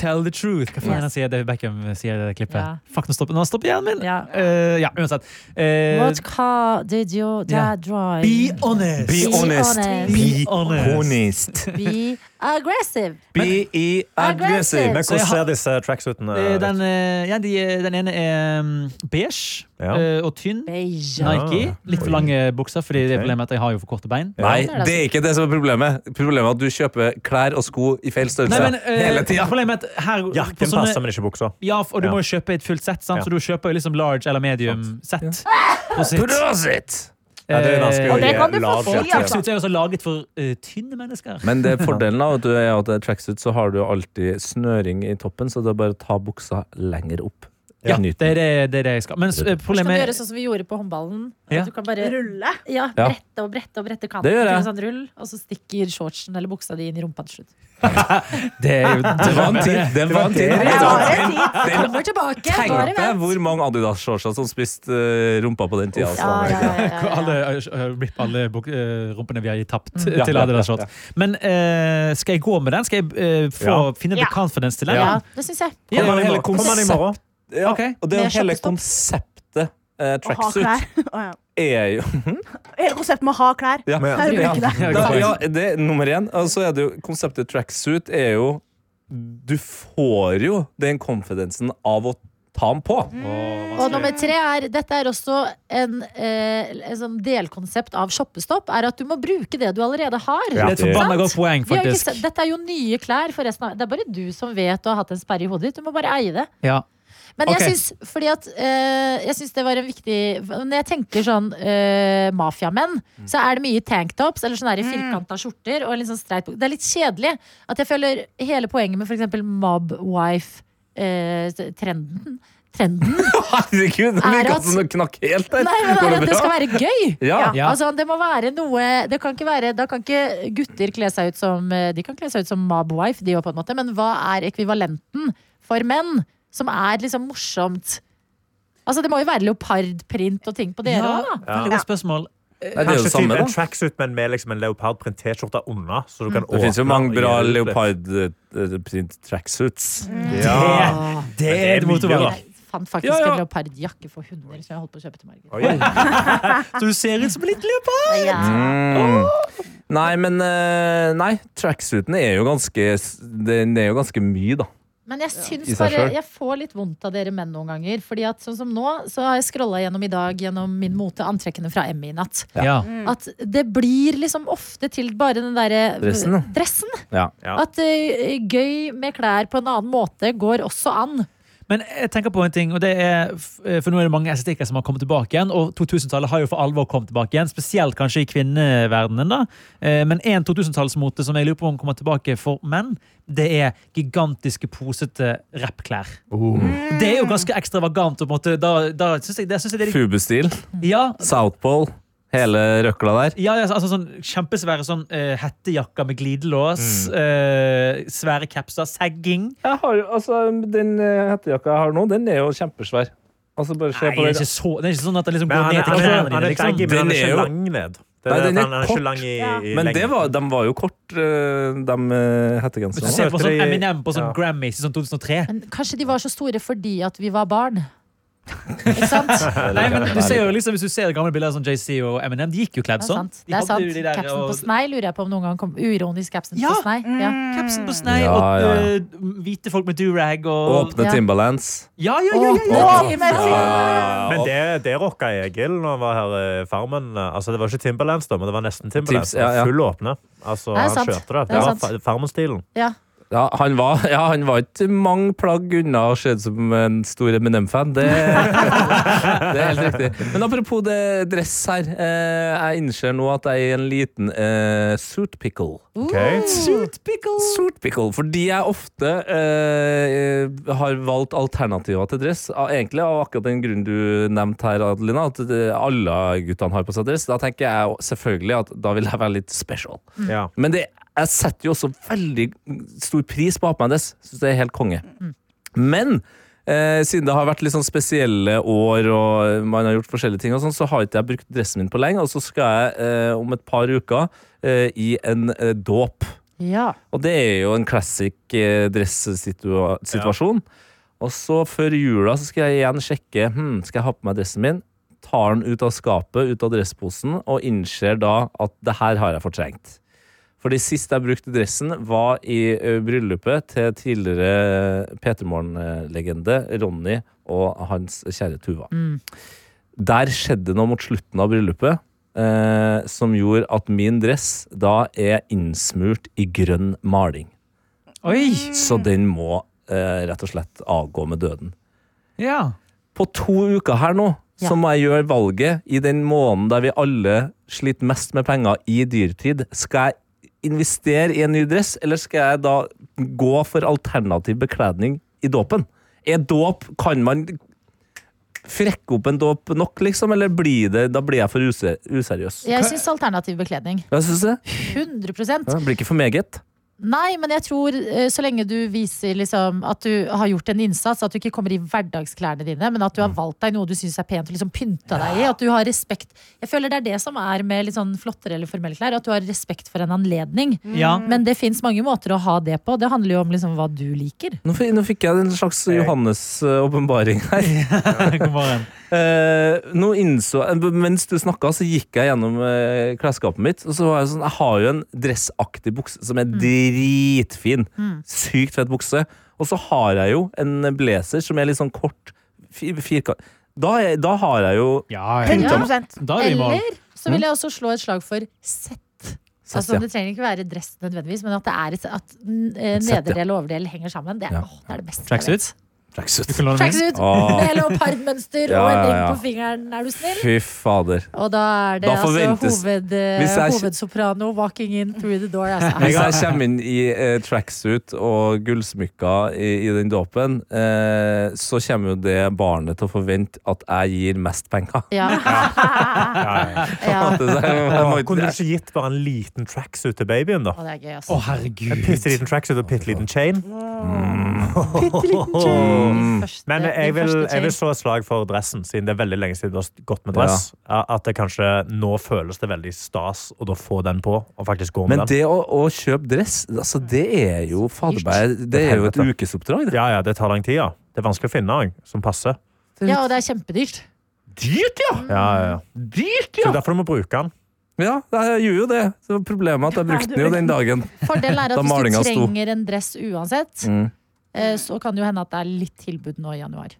D: tell the truth. Hva faen
B: Yes.
D: yes. sier David Beckham sier i det klippet?
B: Ja.
D: Fuck, nå stopper, nå stopper hjernen min!
B: Ja.
D: Eh, ja, uansett. Eh,
B: What car did your
D: Ja.
B: dad drive?
D: be honest!
F: Be honest.
D: Be honest.
B: Be aggressive.
F: Be aggressive.
B: Aggressive.
C: Men
D: Så jeg
C: hvordan
D: har-
C: ser disse tracksuitene
D: Eh,
C: ut?
D: Den, eh, ja, de, eh, den ene er mm, beige
C: Ja.
D: eh, og tynn.
B: Beige.
D: Nike. Litt for lange bukser, fordi det er
C: Ok.
D: problemet at jeg har jo for korte bein.
F: Nei, det er ikke det som er problemet. Problemet er at du kjøper klær og sko i feil størrelse
D: Nei, men, eh,
F: hele tida.
D: Problemet er at her på
C: Jakken
D: sånne-
C: passer, men ikke buksa.
D: Ja, og du
C: Ja.
D: må jo kjøpe et fullt sett, sant?
C: Ja.
D: så du kjøper jo liksom large eller medium sett. Og sitt. Eh,
F: Prosit!
C: Ja, det er vanskelig å
E: Og det
C: gi
E: kan du få
C: large
E: folk,
C: jakke.
E: altså.
D: Tracksuit er jo også laget for eh, tynne mennesker.
F: Men det fordelen av at du er at det er tracksuit, så har du jo alltid snøring i toppen, så det er bare å ta buksa lenger opp.
D: Ja,
F: Nyt
D: det
F: den.
D: er det, det er det jeg skal. Men eh,
B: Kan du
D: problemet
B: gjøre sånn som vi gjorde på håndballen?
D: Ja.
B: At Du kan bare
E: Rulle.
B: ja,
F: Ja.
B: brette og brette og brette kanten
F: Det gjør jeg.
B: til en sånn rull, og så stikker shortsen eller buksa di inn i rumpa til slutt.
D: det er jo
F: Det
D: [laughs]
F: var en tid! Det var en tid.
E: Jeg har en tid.
F: Den-
B: Kommer tilbake! bare
F: Tenk deg
B: vent.
F: hvor mange Adidas-shortser som spiste eh, rumpa på den tida.
B: Ja, ja, ja, ja, ja.
D: alle, eh, Rip alle buk- eh, rumpene vi har gitt tapt eh,
F: Ja,
D: til
F: ja,
D: Adidas Shorts. Men eh, skal jeg gå med den? Skal jeg eh, få,
C: Ja.
D: finne the
E: Ja.
D: confidence til den?
B: Ja, det syns jeg.
C: Kom an i
F: hele
C: morgen. Kom an i morgen.
F: Ja,
D: Ok.
F: Og det er
B: Med
F: jo hele
B: shoppestopp.
F: konseptet eh,
E: Å ha
F: tracksuit
E: klær. Å, ja.
F: er jo
E: Hele konseptet med å ha klær.
F: Ja.
C: Men-
E: Nei, det blir ikke det.
F: Da, ja, det er nummer én. Og så er det jo konseptet tracksuit er jo Du får jo den konfidensen av å ta den på.
B: Mm. Og nummer tre er Dette er også en, eh, en sånn delkonsept av shoppestopp. Er at du må bruke det du allerede har.
D: Det er et forbanna godt poeng,
B: Vi har jo ikke
D: faktisk.
B: sett, dette er jo nye klær for resten av Det er bare du som vet du har hatt en sperre i hodet ditt. Du må bare eie det.
D: Ja.
B: Men
D: Ok.
B: jeg syns fordi at eh, Jeg syns det var en viktig Når jeg tenker sånn eh, mafiamenn, så er det mye tanktops eller sånn sånne firkanta skjorter og en litt sånn streit bok. Det er litt kjedelig. At jeg føler hele poenget med f.eks. mobwife-trenden eh, Trenden
F: Herregud, det
B: Er
F: virka
B: at-
F: som det knakk helt der.
B: Nei, men det,
F: Går
B: er at det
F: bra?
B: skal være gøy!
F: ja.
D: Ja.
B: Altså, det må være noe det kan ikke være, Da kan ikke gutter kle seg ut som eh, De kan kle seg ut som mobwife, de òg, på en måte. Men hva er ekvivalenten for menn som er liksom morsomt? Altså, det må jo være leopardprint og ting på dere òg, da.
D: Veldig godt spørsmål.
F: Nei, det er jo
C: Kanskje
F: det samme,
C: typ en
F: da. Mm.
C: tracksuit, men med liksom en leopardprint T-skjorte unna. Så du kan
F: Det fins jo
C: åpne
F: mange
C: og
F: bra
C: gi det ut litt.
F: leopardprint tracksuits.
D: Mm.
C: Ja.
D: Det
C: er
D: er et
C: mye,
D: motorvei.
C: da.
B: Jeg fant faktisk
D: Ja, ja.
B: en leopardjakke for hunder som jeg holdt på å kjøpe til Margit.
C: Oi.
D: Så du ser ut som en liten leopard.
B: Ja.
F: Mm. Nei, men eh, Nei, tracksuiten er jo ganske Den er jo ganske mye, da.
B: Men jeg syns
F: I seg
B: bare
F: selv.
B: Jeg får litt vondt av dere menn noen ganger. Fordi at sånn som nå, så har jeg scrolla gjennom i dag gjennom min mote antrekkene fra Emmy i natt.
D: Ja.
B: At det blir liksom ofte til bare den derre
F: Dressen, da.
B: dressen.
F: Ja.
C: Ja.
B: At eh, gøy med klær på en annen måte går også an.
D: Men jeg tenker på en ting, og det er, eh, for nå er det mange estetikker som har kommet tilbake igjen, og 2000-tallet har jo for alvor kommet tilbake igjen, spesielt kanskje i kvinneverdenen da. Eh, Men en 2000-tallsmote som jeg lurer på om kommer tilbake for menn, det er gigantiske posete rappklær.
F: Mm.
D: Det er jo ganske ekstravagant, og på en måte, da, da synes jeg, det synes jeg det er...
F: Fubestil,
D: Ja,
F: Southpole, hele røkla der.
D: ja, ja, altså sånn kjempesvære sånn eh, hettejakker med glidelås,
C: Mm.
D: eh, svære kapser, sagging.
F: Jeg har jo, altså, Den eh, hettejakka jeg har nå, den er jo kjempesvær. Altså, bare se
D: Nei,
F: på
D: det er
F: den.
D: ikke, så, det er ikke sånn at det liksom
C: Men
D: går
C: han
D: ned
C: er,
D: til
F: altså,
C: han er,
D: knærne
C: han
D: dine,
C: er
D: liksom.
C: baggy, men han
F: Den
C: er
F: er jo-
C: ikke lang ned. Den,
F: Nei,
C: er-
F: den er
C: den er
F: kort.
C: ikke lang i,
E: Ja.
C: i
F: Men
C: lengden.
F: det var, de var jo kort, eh, de eh,
D: Hvis du ser
F: hettegenserne.
D: på
C: Søte
D: sånn
C: i-
D: Eminem på
C: ja.
D: sånn Grammys i sånn 2003
B: Men kanskje de var så store fordi at vi var barn? Ikke sant?
D: Nei, men du ser jo liksom, Hvis du ser gamle bilder av sånn JC og Eminem, de gikk jo
B: Det
D: kledd
B: er
D: sånn.
B: sant.
D: De
B: Det er
D: hadde
B: sant.
D: jo de der,
B: Capsen
D: og-
B: på snei lurer jeg på om noen gang kom. Uironisk capsen
D: Ja. Mm.
B: på snei. Ja.
D: Capsen på snei
F: Ja,
D: og
F: ja.
D: eh, hvite folk med durag og
F: Åpne
B: Ja.
F: Timberlands.
D: Ja, ja, ja! ja, ja.
E: Åpne
F: Ja,
C: Men
F: ja, ja.
C: det, det rocka Egil når han var her i Farmen. Altså, det var ikke Timberlands, da, men det var nesten Timberlands.
F: Tips, ja, ja.
C: Full åpne. Altså,
B: Det er
C: han
B: sant.
C: kjørte det.
B: Det er
C: Det var
B: sant.
C: fa- Farmen-stilen.
B: Ja.
F: Ja, han var, [laughs] ja, han var ikke mange plagg unna å se ut som en stor Eminem-fan. Det, [laughs] det er helt riktig. Men apropos det dress her. Eh, jeg innser nå at jeg er en liten eh, suit pickle.
C: Ok.
B: Suit pickle.
F: Sort pickle, fordi jeg ofte eh, har valgt alternativer til dress. Av- Egentlig av akkurat den grunnen du nevnte her, Adelina, at eh, alle guttene har på seg dress. Da tenker jeg jo selvfølgelig at da vil jeg være litt special.
C: Ja.
F: Men det, jeg setter jo også veldig stor pris på å ha på meg dress. Syns det er helt konge. Men eh, siden det har vært litt sånn spesielle år, og man har gjort forskjellige ting, og sånn, så har ikke jeg brukt dressen min på lenge. Og så skal jeg eh, om et par uker eh, i en eh, dåp.
B: Ja.
F: Og det er jo en classic eh, dressituasjon. Og så før jula så skal jeg igjen sjekke hmm, Skal jeg ha på meg dressen min. Tar den ut av skapet, ut av dressposen, og innser da at det her har jeg fortrengt. Fordi sist jeg brukte dressen, var i ø, bryllupet til tidligere P3 Morgen-legende Ronny og hans kjære Tuva. Der skjedde det noe mot slutten av bryllupet eh, som gjorde at min dress da er innsmurt i grønn maling.
D: Oi!
F: Så den må eh, rett og slett avgå med døden.
D: Ja.
F: På to uker her nå
B: Ja.
F: så må jeg gjøre valget i den måneden der vi alle sliter mest med penger i dyrtid. Skal jeg investere i en ny dress, eller skal jeg da gå for alternativ bekledning i dåpen? Er dåp Kan man frekke opp en dåp nok, liksom? Eller blir det, da blir jeg for use, useriøs?
B: Jeg syns alternativ bekledning.
F: Hva syns du?
B: 100
F: Ja, det blir ikke for meget.
B: Nei, men jeg tror eh, så lenge du viser liksom, at du har gjort en innsats, at du ikke kommer i hverdagsklærne dine, men at du har valgt deg noe du syns er pent og liksom pynta deg i, at du har respekt Jeg føler det er det som er med litt sånn flottere eller formelle klær, at du har respekt for en anledning.
D: ja.
B: Men det fins mange måter å ha det på. Det handler jo om liksom hva du liker.
F: Nå fikk, nå fikk jeg en slags Johannes-åpenbaring her.
B: Mm.
D: [laughs] God morgen.
F: Eh, nå innså, mens du snakka, så gikk jeg gjennom eh, klesskapet mitt. Og så var jeg sånn, jeg har jo en dressaktig bukse som
B: Mm.
F: er dritfin. Sykt fett bukse. Og så har jeg jo en blazer som er litt sånn kort. Fir, firkant. Da, er, da har jeg jo
D: Ja, ja.
E: 100
D: Da er vi i mål.
B: Eller så vil jeg også slå et slag for sett. Altså, det trenger ikke være dress nødvendigvis, men at, det er et, at eh,
F: Sett, ja.
B: nederdel og overdel henger sammen. Det er,
F: Ja.
B: åh, det, er det beste. jeg vet.
D: Tracksuit?
F: Tracksuit.
B: [laughs]
D: Du kan låne min.
B: Tracksuit [laughs]
F: Ah.
B: med leopardmønster
F: Ja,
B: og en
F: ja,
B: ring
F: ja.
B: på fingeren, er du snill?
F: Fy fader.
B: Og da er det
F: Da
B: altså
F: forventes-
B: hoved,
F: Hvis jeg-
B: hovedsoprano walking in through the door.
F: Hvis
B: Altså.
F: jeg kommer inn i eh, tracksuit og gullsmykker i, i den dåpen, eh, så kommer jo det barnet til å forvente at jeg gir mest penger.
B: Ja,
C: Ja.
B: ja.
F: At det- jeg må ikke-
C: Kunne du ikke gitt bare en liten tracksuit til babyen,
B: Å,
C: da?
B: det er gøy, altså.
D: Å, herregud.
C: En bitte liten tracksuit og bitte liten chain?
F: Mm.
B: Din Mm. første-
C: Men
B: din
C: jeg vil,
B: første
C: jeg vil
B: change.
C: slå et slag for dressen, siden det er veldig lenge siden du har gått med dress. At det kanskje nå føles det veldig stas å da få den på, og faktisk gå med
F: Men
C: den.
F: det å, å kjøpe dress, altså det er jo faderberg, det er jo et ukesoppdrag. Det.
C: Ja, ja, det tar lang tid, ja. Det er vanskelig å finne en som passer.
B: Ja, og det er kjempedyrt.
F: Dyrt, ja!
C: Ja, ja, ja.
F: Dyrt,
C: Så derfor du må bruke den.
F: Ja, jeg gjør jo det. Så problemet er at jeg brukte den jo den dagen.
B: Fordelen er
F: Da
B: at hvis
F: malingen
B: du
F: sto.
B: trenger en dress uansett,
F: Mm.
B: eh, så kan det jo hende at det er litt tilbud nå i januar.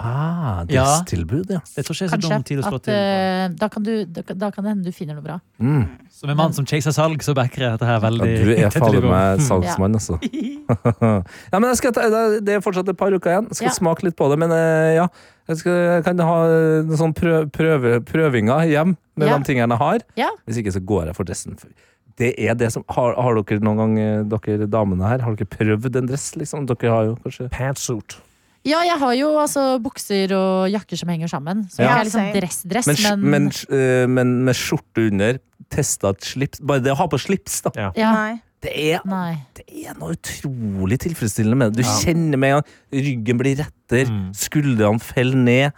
F: Ah,
D: Ja.
F: dresstilbud, ja.
D: Det tror ikke jeg er så
B: Kanskje.
D: dum tid å slå
B: At,
D: til.
B: eh, da, kan du, da, kan- da kan det hende du finner noe bra.
F: Mm.
B: eh,
D: Som en mann som chaser salg, så backer jeg dette her
F: ja
D: veldig.
F: du er
D: tett Mm. i
F: fader
D: gang.
F: meg salgsmann, altså. [laughs] ja, men jeg skal ta, det- det er fortsatt et par uker igjen. Jeg skal
B: Ja.
F: smake litt på det, men eh, ja. Jeg skal, jeg kan ha noen sånn prøv, prøve, prøvinger hjem med
B: Ja.
F: de tingene jeg har.
B: Ja.
F: Hvis ikke så går jeg for dressen. Det er det som, har, har dere noen gang, eh, dere damene her, har dere prøvd en dress, liksom? Dere har jo kanskje
C: Pantsuit.
B: Ja, jeg har jo altså bukser og jakker som henger sammen. Så
E: Ja.
B: jeg er liksom
E: Same.
B: dress-dress,
F: men, sk-
B: men,
F: men, sk- eh, men med skjorte under, testa et slips Bare det å ha på slips, da.
C: Ja.
B: ja,
E: Nei.
F: Det er,
B: Nei.
F: det er noe utrolig tilfredsstillende med det. Du kjenner med en gang ryggen blir rettere,
C: Mm.
F: skuldrene faller ned.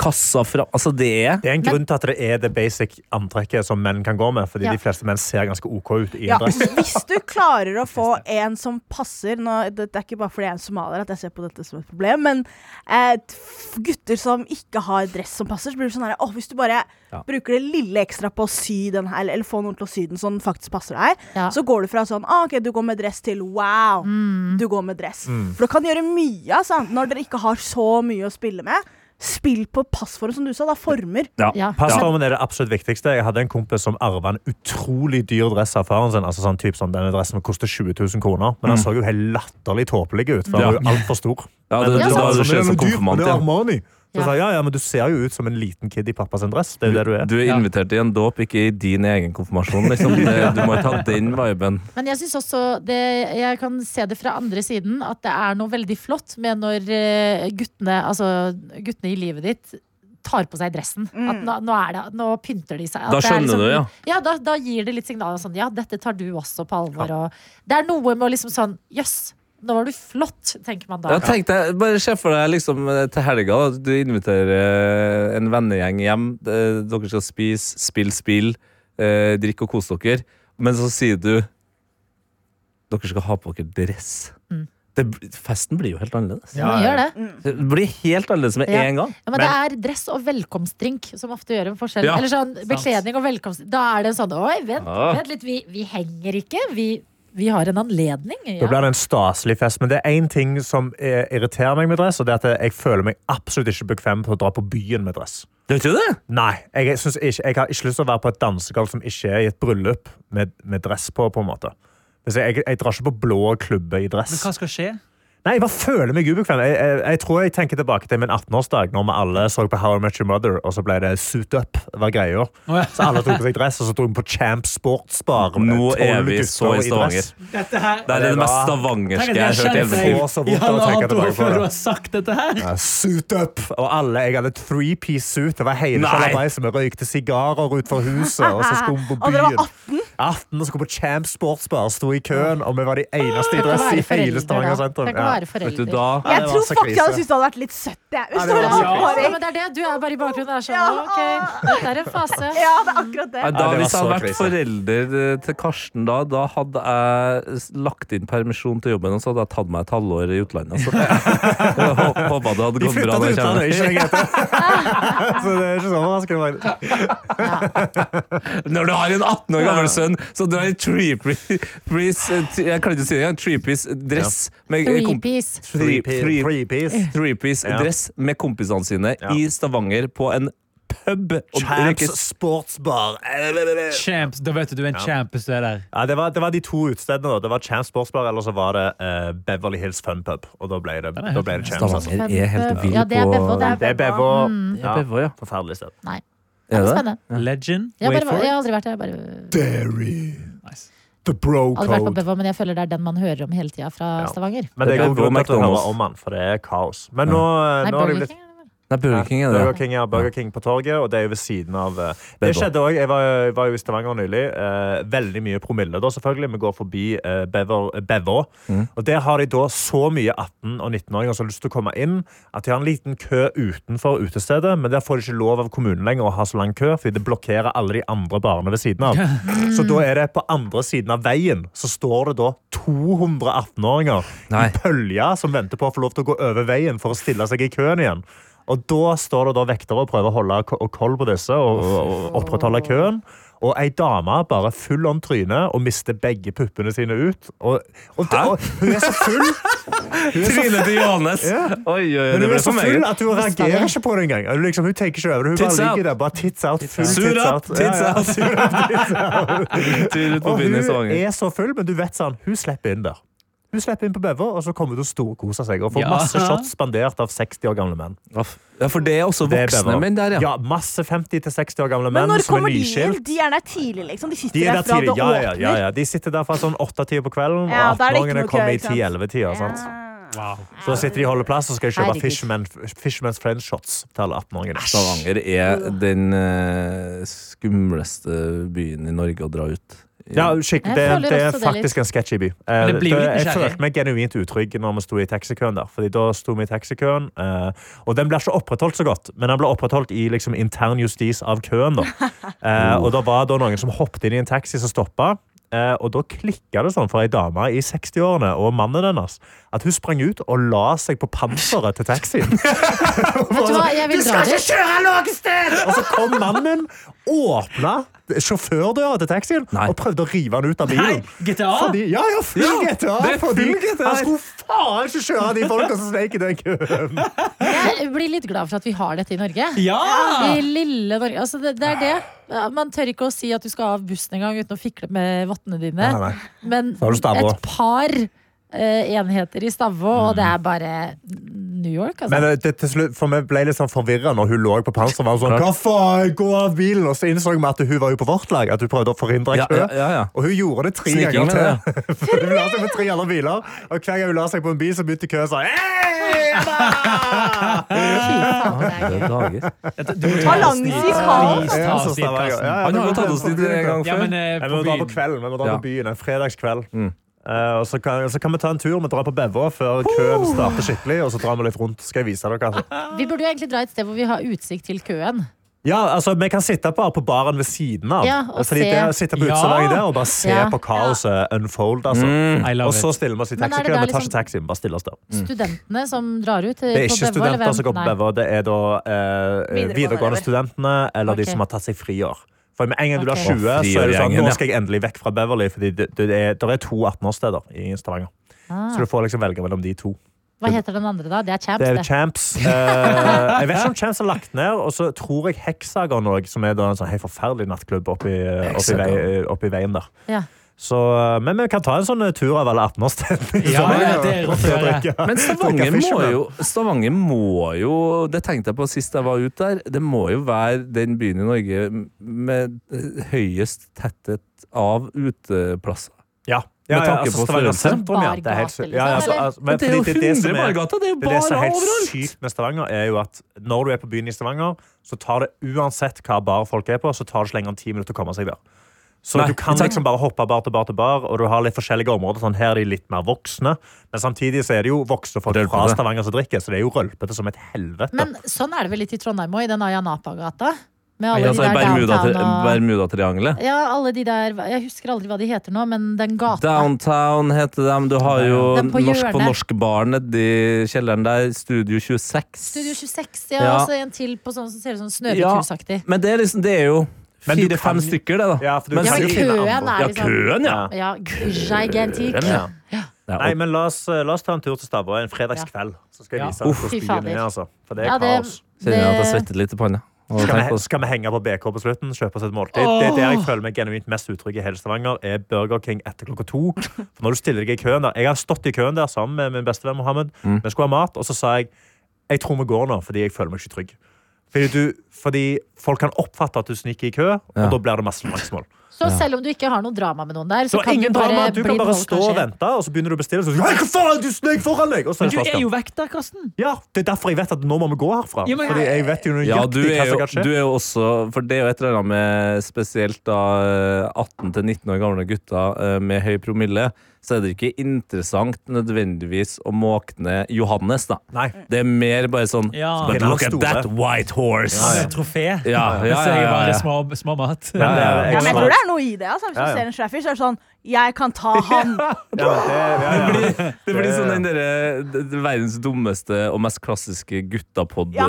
F: kassa fram Altså, det er
C: Det er en grunn til at det er det basic antrekket som menn kan gå med. Fordi
B: Ja.
C: de fleste menn ser ganske OK ut i
E: Ja,
C: en dress.
E: hvis du
C: [laughs]
E: klarer å få en som passer nå, det, det er ikke bare fordi jeg er somalier at jeg ser på dette som et problem, men eh, f- gutter som ikke har dress som passer, så blir det sånn her Å, hvis du bare bruker det lille ekstra på å sy den her, eller få noen til å sy den sånn faktisk passer deg,
B: Ja.
E: så går du fra sånn Å, OK, du går med dress, til wow, du går med dress.
C: Mm.
E: For du kan gjøre mye, altså, når dere ikke har så mye å spille med. Spill på passform, som du sa, da. Former.
B: Ja.
C: Passformen er det absolutt viktigste. Jeg hadde en kompis som arva en utrolig dyr dress av faren sin. Altså sånn typ sånn, Denne dressen koster 20 000 kroner, men han så jo helt latterlig tåpelig ut. For
F: Mm. Ja.
C: han var jo altfor stor.
F: Ja, det,
C: Men
F: det,
B: Ja,
F: det,
B: sant.
F: det,
C: sånn,
F: skjer som
C: men dyr,
F: konfirmant,
C: det er
F: ja.
C: Armani. Så
B: Ja.
C: sa jeg, ja, ja, men du ser jo ut som en liten kid i pappas dress. Det er jo det du er.
F: Du er
D: Ja.
F: invitert i en dåp, ikke i din egen konfirmasjon.
C: [laughs]
F: Liksom. Det- Du må ta den viben.
B: Men jeg synes også det, Jeg kan se det fra andre siden, at det er noe veldig flott med når eh, guttene, altså, guttene i livet ditt tar på seg dressen. At nå, nå, er det, nå pynter de seg. At
F: Da
B: det er liksom-
F: skjønner du, ja.
B: Ja, da, da gir det litt signaler sånn Ja, dette tar du også på alvor. Og det er noe med å liksom sånn Jøss, nå var du flott, tenker man da.
F: Ja, tenk deg, bare se for deg liksom, eh, til helga. Da. Du inviterer eh, en vennegjeng hjem. Eh, Dere skal spise, spille spill, eh, drikke og kose dere. Men så sier du Dere skal ha på dere dress. Det, bl- festen blir jo helt annerledes.
B: Mm. Ja, man gjør det.
F: Det blir helt annerledes med
B: Ja.
F: en gang.
B: Ja, men, det er dress og velkomstdrink som ofte gjør en forskjell.
F: Ja,
B: Eller sånn bekledning og velkomst Da er det en sånn Oi, vent,
F: Ja.
B: vent litt, vi, vi henger ikke. Vi, vi har en anledning.
C: Da
B: Ja.
C: blir det en staselig fest. Men det er én ting som eh, irriterer meg med dress, og det er at jeg føler meg absolutt ikke bekvem til å dra på byen med dress.
F: Gjør ikke du det?
C: Nei, jeg, synes ikke, jeg har ikke lyst til å være på et dansegulv som ikke er i et bryllup med, med dress på. på en måte. Hvis Jeg, jeg, jeg drar ikke på blå klubbe i dress.
D: Men hva skal skje?
C: Nei, Jeg bare føler meg ubekvem. Jeg, jeg, jeg tror jeg tenker tilbake til min 18-årsdag, når vi alle så på How I Met Your Mother, og så ble det suit up. var greia.
D: ja.
C: Så alle tok på seg dress, og så dro vi på Champ Sportsbar. med
F: Nå er
C: tolv
F: vi
C: gutter
F: så i
C: dress.
F: Stavanger.
D: Dette her
F: Det er det
C: Det
F: mest
C: var-
F: stavangerske jeg har hørt i
D: kjent
F: hele mitt
C: seg.
F: liv.
C: Å, så vondt
D: i
C: å tenke
D: halvannet
C: tilbake
D: år
C: på det.
D: før du har sagt dette her.
C: Ja, Suit up! Og alle, Jeg hadde three-piece suit. Det var hele
F: Nei.
C: sjalabais. Vi røykte sigarer utenfor huset, og så skulle vi på
E: Og dere var
C: byen. 18, og så kom på Champ Sportsbar, sto i køen, og vi var de eneste i
B: Tenk å
C: dress i
B: være
C: hele
B: foreldre, da.
C: Stavanger sentrum.
B: Tenk å
C: Ja.
B: være
F: Vet du,
B: forelder.
F: da
C: Ja, det
E: Jeg
C: var
E: tror
C: så
E: faktisk jeg
C: krise.
E: hadde syntes det hadde vært litt søtt. Jeg. Hvis
C: Ja,
E: det
C: det var
E: var en
B: Ja,
E: åtteåring.
B: men det er det. Du er bare i bakgrunnen og er sånn
E: Ja.
B: Ok, dette er en fase.
E: Ja, det er akkurat det.
F: Nei, da,
C: Ja, det var
F: hvis jeg hadde
C: så
F: vært
C: krise.
F: forelder eh, til Karsten da, da hadde jeg s- lagt inn permisjon til jobben, og så hadde jeg tatt meg et halvår i utlandet. Altså. [laughs] Jeg hå- Håpa det hadde
C: De
F: gått bra. når
C: flytta til
F: jeg kommer.
C: utlandet, ikke jeg heter.
B: [laughs]
C: Så det er ikke så overraskende.
F: [laughs] Når du har en 18 år gammel sønn, så du har en three-piece Jeg kan ikke si det, en three-piece dress med
B: Three-piece.
F: Three- three-
C: Three-piece.
F: Three-piece
C: Ja.
F: dress med kompisene sine
C: Ja.
F: i Stavanger på en pub. Og drikker-
C: Champs Sportsbar.
D: Champs, da vet du du er en champ hvis du er der.
C: Ja, det, var, det var de to utstedene. da. Det var Champs Sportsbar, eller så var det eh, Beverly Hills Fun Pub. Og da ble det,
D: er helt
C: da ble det Champs. Altså.
F: Stavanger er helt vill
B: eh, Ja, det er Bevo,
F: på
B: det er
C: Det er Bevo.
B: Mm.
F: Ja,
C: Ja,
F: Bevo, ja.
C: forferdelig sted.
B: Nei.
F: Er
B: Det er
F: det?
B: spennende.
D: Legend,
B: Jeg,
D: wait
B: bare,
D: for
B: jeg
D: it.
B: har aldri vært der. Jeg bare
C: Derry.
D: Nice.
C: The bro
B: aldri vært på Bevo, men jeg føler det er den man hører om hele tida fra
C: Ja.
B: Stavanger.
C: Men det er
F: Det er
C: god grunn til at du
F: McDonald's.
C: hører om han, for det er kaos. Men nå, eh,
B: Nei,
C: nå har det
B: Burger
C: blitt
B: King? eller?
F: Nei, Burger King er det.
C: Burger King, ja, Burger King på torget, og det er jo ved siden av eh, Det
F: Bedre.
C: skjedde òg. Jeg var, var jo i Stavanger nylig. Eh, veldig mye promille, da, selvfølgelig. Vi går forbi eh, Bever- Bevå.
F: Mm.
C: Og der har de da så mye 18- og 19-åringer som har lyst til å komme inn, at de har en liten kø utenfor utestedet, men der får de ikke lov av kommunen lenger å ha så lang kø, fordi det blokkerer alle de andre barene ved siden av. Så da er det på andre siden av veien, så står det da 200 18-åringer i
F: Nei.
C: pølja som venter på å få lov til å gå over veien for å stille seg i køen igjen. Og da står det da vektere og prøver å holde k- og koll på disse og, og, og opprettholde køen. Og ei dame bare full om trynet og mister begge puppene sine ut. Og, og, det, og hun er så
F: [laughs]
C: full Hun er så,
F: Trynet til Johannes!
C: Ja.
F: Oi, oi, oi,
C: men
F: det
C: hun
F: ble
C: er så
F: for
C: full
F: meget.
C: at hun reagerer ikke på det engang. Hun Liksom, hun tenker ikke over det. Hun
F: Tits
C: bare
F: out.
C: ligger der. Bare tits out. Full
F: Sur
C: tits
F: opp,
C: out. Ja,
F: tits
C: [laughs] ja.
F: out! Tur ut på
C: Og
F: byen i
C: hun
F: Stavanger.
C: er så full, men du vet sånn, hun slipper inn der. Hun slipper inn på Bever, og så kommer hun til å storkose seg og får
D: Ja.
C: masse shots spandert av 60 år gamle menn.
F: Ja, for det er også
C: Det er
F: voksne
C: Bever.
F: menn der, ja.
C: Ja, masse 50 til 60 år gamle
E: Men
C: menn
E: når
C: som
E: kommer
C: er
E: de inn?
C: nyskilt.
E: De er der tidlig, liksom. De sitter
C: De er
E: der
C: der
E: fra det
C: tidlig. Ja, ja,
E: åpner.
C: ja, ja. De sitter der fra sånn 8-10 på kvelden, og
E: Ja, da er det ikke
C: 18-åringene
E: noe kø,
C: kommer i
E: ikke sant?
C: 10-11-tida. sant?
D: Wow.
C: Så da sitter de og holder plass og skal kjøpe
B: Herregud.
C: Fisherman, Fisherman's Friend Shots til alle 18-åringene.
F: Stavanger er den eh, skumleste byen i Norge å dra ut
C: Ja, skikk,
B: Jeg
C: det,
B: føler
C: det er
B: også det
C: faktisk en sketchy by. Eh,
D: Men det blir jo
C: det-
D: litt
C: jeg
D: nysgjerrig.
C: følte meg genuint utrygg når vi sto i taxikøen der. Fordi da sto vi i taxikøen, eh, og den ble ikke opprettholdt så godt. Men den ble opprettholdt i liksom, intern justis av
B: [laughs]
C: køen. Da. Eh, og
B: Uh.
C: da var det noen som hoppet inn i en taxi som stoppa. Eh, og da klikka det sånn for ei dame i 60-årene og mannen hennes at hun sprang ut og la seg på panseret til
B: [laughs]
C: taxien.
B: Vet du hva, jeg vil dra dit.
C: kjøre noe sted! Og så kom mannen, åpna sjåførdøra til taxien
F: Nei.
C: og prøvde å rive han ut av bilen.
D: Nei, GTA?
C: Fordi, ja, Ah. ja, full
F: Ja,
C: GTA!
F: det er full
C: Fordi
F: GTA.
C: Han skulle faen ikke kjøre de folka som snek i den køen.
B: Jeg blir litt glad for at vi har dette i Norge.
D: Ja!
C: Ah.
B: I lille Norge. Altså, det, det er det. Ja, Man tør ikke å si at du skal av bussen engang uten å fikle med vottene dine.
C: nei.
B: Men
C: har du Stavå. Mm.
B: et par eh, enheter i Stavå, og det er bare New York, altså.
C: Men eh, det, til slutt, for Vi ble litt sånn forvirra når hun lå på panseret. og var Sånn, Hva faen, gå av bilen! Og så innså vi at hun var jo på vårt lag. At hun prøvde å forhindre
F: Ja,
C: kø.
F: ja, ja, ja.
C: Og hun gjorde det tre
F: Sniking
C: ganger
F: med det.
C: til. For [laughs] hun la seg på tre andre biler, og hver gang hun la seg på en bil, så begynte køen sånn. «Hei, Emma!»
B: Fy faen, det er gøy.
F: Det er dager.
E: Balanse i
C: Ja, så
E: kaos.
D: kaos.
C: Stavanger. Ja, ja,
F: Han
C: vi
F: har
C: må
F: jo tatt
C: til-
F: oss dit en gang
D: Ja,
F: før.
D: men eh,
C: Nei, Vi
D: på
C: må dra på
D: byen.
C: kvelden. Vi må dra
F: Ja. Mm.
C: på byen en fredagskveld. Eh, og så kan, så kan vi ta en tur. Vi drar på Bevå før køen starter skikkelig. Og så drar vi litt rundt. Skal jeg vise dere altså.
B: Vi burde jo egentlig dra et sted hvor vi har utsikt til køen.
C: Ja, altså, Vi kan sitte bare på baren ved siden av.
B: Ja, og
C: Fordi
B: se.
C: det, sitte på uteserveringen der og bare se
B: Ja.
C: på kaoset unfold. Altså.
F: Mm.
D: I love
C: Og så
D: it.
C: stiller vi oss i
B: Men er det
C: taxikøen.
B: da
C: Vi tar
B: liksom-
C: ikke taxien, bare stiller oss der.
B: Studentene som drar ut.
C: Mm.
B: eh,
C: Det er ikke studenter som går på Bevå, det er da eh,
E: Videregående elever.
C: videregående studentene eller
B: Ok.
C: de som har tatt seg friår. For med en gang du blir
B: Ok.
C: 20,
F: Å,
C: så er det sånn,
F: frigjøringen,
C: nå
F: ja.
C: skal jeg endelig vekk fra Beverly, fordi det, det er, der er to 18-årssteder i Stavanger. Så du får liksom velge mellom de to.
B: Ah. Hva heter den andre, da? Det er Champs,
C: Det er
B: det.
C: [laughs] Champs. Eh, jeg vet ikke om Champs er lagt ned, og så tror jeg Hexagon òg, som er da en sånn helt forferdelig nattklubb oppi, oppi,
F: Hexagon.
C: vei, eh, oppi veien der.
B: Ja.
C: Så, eh, men vi kan ta en sånn tur av alle 18-årsstedene. i
D: Ja, ja,
C: Stavanger, [laughs]
D: det er
C: og
D: rått å gjøre.
C: drikke-
F: Men Stavanger
C: drikke
F: må,
C: Fisherman.
F: jo, Stavanger må jo Det tenkte jeg på sist jeg var ute der. Det må jo være den byen i Norge med høyest tetthet av uteplasser.
C: Ja. Ja,
F: Med
C: ja,
F: tanke
C: altså,
F: på
C: Stavanger
F: størrelse.
C: sentrum, ja. Det er
B: Bargate,
C: helt sykt. Ja, ja, altså,
B: liksom,
C: altså, men
F: Men det er jo
C: fordi det
F: 100
C: som er-
F: bargater! Det er jo
C: Det er det som
F: bare
C: er helt
F: overalt!
C: sykt med Stavanger, er jo at når du er på byen i Stavanger, så tar det uansett hva bar folk er på, så tar det ikke lenger enn ti minutter å komme seg der. Så
F: Nei,
C: du kan
F: ikke sant?
C: liksom bare hoppe bar til bar til bar, og du har litt forskjellige områder. Sånn, her er de litt mer voksne, men samtidig så er det jo voksne folk fra
F: Rølpete.
C: Stavanger som drikker, så det er jo rølpete som et helvete.
B: Men sånn er det vel litt i Trondheim òg, i den Ayanapa-gata. Med
F: Ja,
B: alle de
C: altså,
F: så er
B: der
F: Bermuda-
B: downtown og
F: Bermudatriangelet.
B: Ja, alle de der Jeg husker aldri hva de heter nå, men den gata.
F: Downtown heter dem. Du har jo
B: Den på
F: Norsk på
B: hjørnet.
F: norsk-baren nedi kjelleren der. Studio 26.
B: Studio 26, ja,
F: Ja.
B: og så en til på sånn som ser ut som Snøhvithusaktig.
F: Men det er, liksom, det er jo
C: Men du
F: fire-fem
C: kan-
F: stykker, det, da.
C: Ja, for du
F: Men
B: Ja,
C: kan
B: men
C: jo finne
B: køen
C: andre.
B: er
F: Ja,
B: liksom
F: køen, ja!
B: Ja, gigantisk.
F: Ja. Ja,
C: Nei,
F: og-
C: men la oss, la oss ta en tur til Stavanger en fredagskveld. Så skal jeg
D: Ja.
C: vise deg
B: Fy
C: hvordan
B: fader.
C: byen er, altså. For det
B: Ja,
C: er kaos.
B: det-
F: Kjenner jeg at jeg svetter litt i panna. Og
C: Skal
F: tenker
C: vi,
F: på-
C: skal vi henge på BK på slutten? Kjøpe oss et måltid? Det er der jeg føler meg genuint mest utrygg i hele Stavanger. Er Burger King etter klokka to. For når du stiller deg i køen der Jeg har stått i køen der sammen med min bestevenn Mohammed. Vi skulle ha mat, og så sa jeg jeg tror vi går nå, fordi jeg føler meg ikke trygg. Fordi, du, fordi folk kan oppfatte at du sniker i kø, og
F: Ja.
C: da blir det masse slagsmål.
B: Så selv om du ikke har noe drama med noen der,
C: Du
B: så
C: har
B: kan du
C: ingen
B: bare
C: drama. Du
B: bli
C: kan bare
B: vold,
C: stå og
B: kanskje.
C: vente, og så begynner du å bestille. Og så, «Hei, hva faen, du snek foran meg! Og så
D: Men
C: er
D: du
C: det
D: er jo
C: slåsskamp.
D: vekk der, Karsten.
C: Ja, det er derfor jeg vet at nå må vi gå herfra.
D: Ja, men jeg-
C: Fordi jeg vet jo
F: Ja, du
C: nøyaktig hva
F: er, jo,
C: som kan skje.
F: du er jo også For det er jo et eller annet med spesielt da eh, 18 til 19 år gamle gutter eh, med høy promille, så er det ikke interessant nødvendigvis å måke ned Johannes, da.
C: Nei.
F: Det er mer bare sånn
D: Ja.
F: But
C: Han
F: look at
C: store.
F: that white horse!
D: Han er
F: Ja,
D: et trofé.
F: ja,
D: [laughs]
F: ja,
D: Så jeg er
F: ja,
D: bare
F: ja.
D: små, små mat.
F: Ja,
C: Men det er-
E: Ja, men jeg
C: jeg-
E: tror det er noe i det. Altså. Hvis du
C: Ja, ja.
E: ser en schæfer, så er det sånn Jeg
C: [laughs]
E: kan ta han.
C: Ja, men det, ja, ja.
F: Det blir sånn den derre d- d- verdens dummeste og mest klassiske
E: Ja.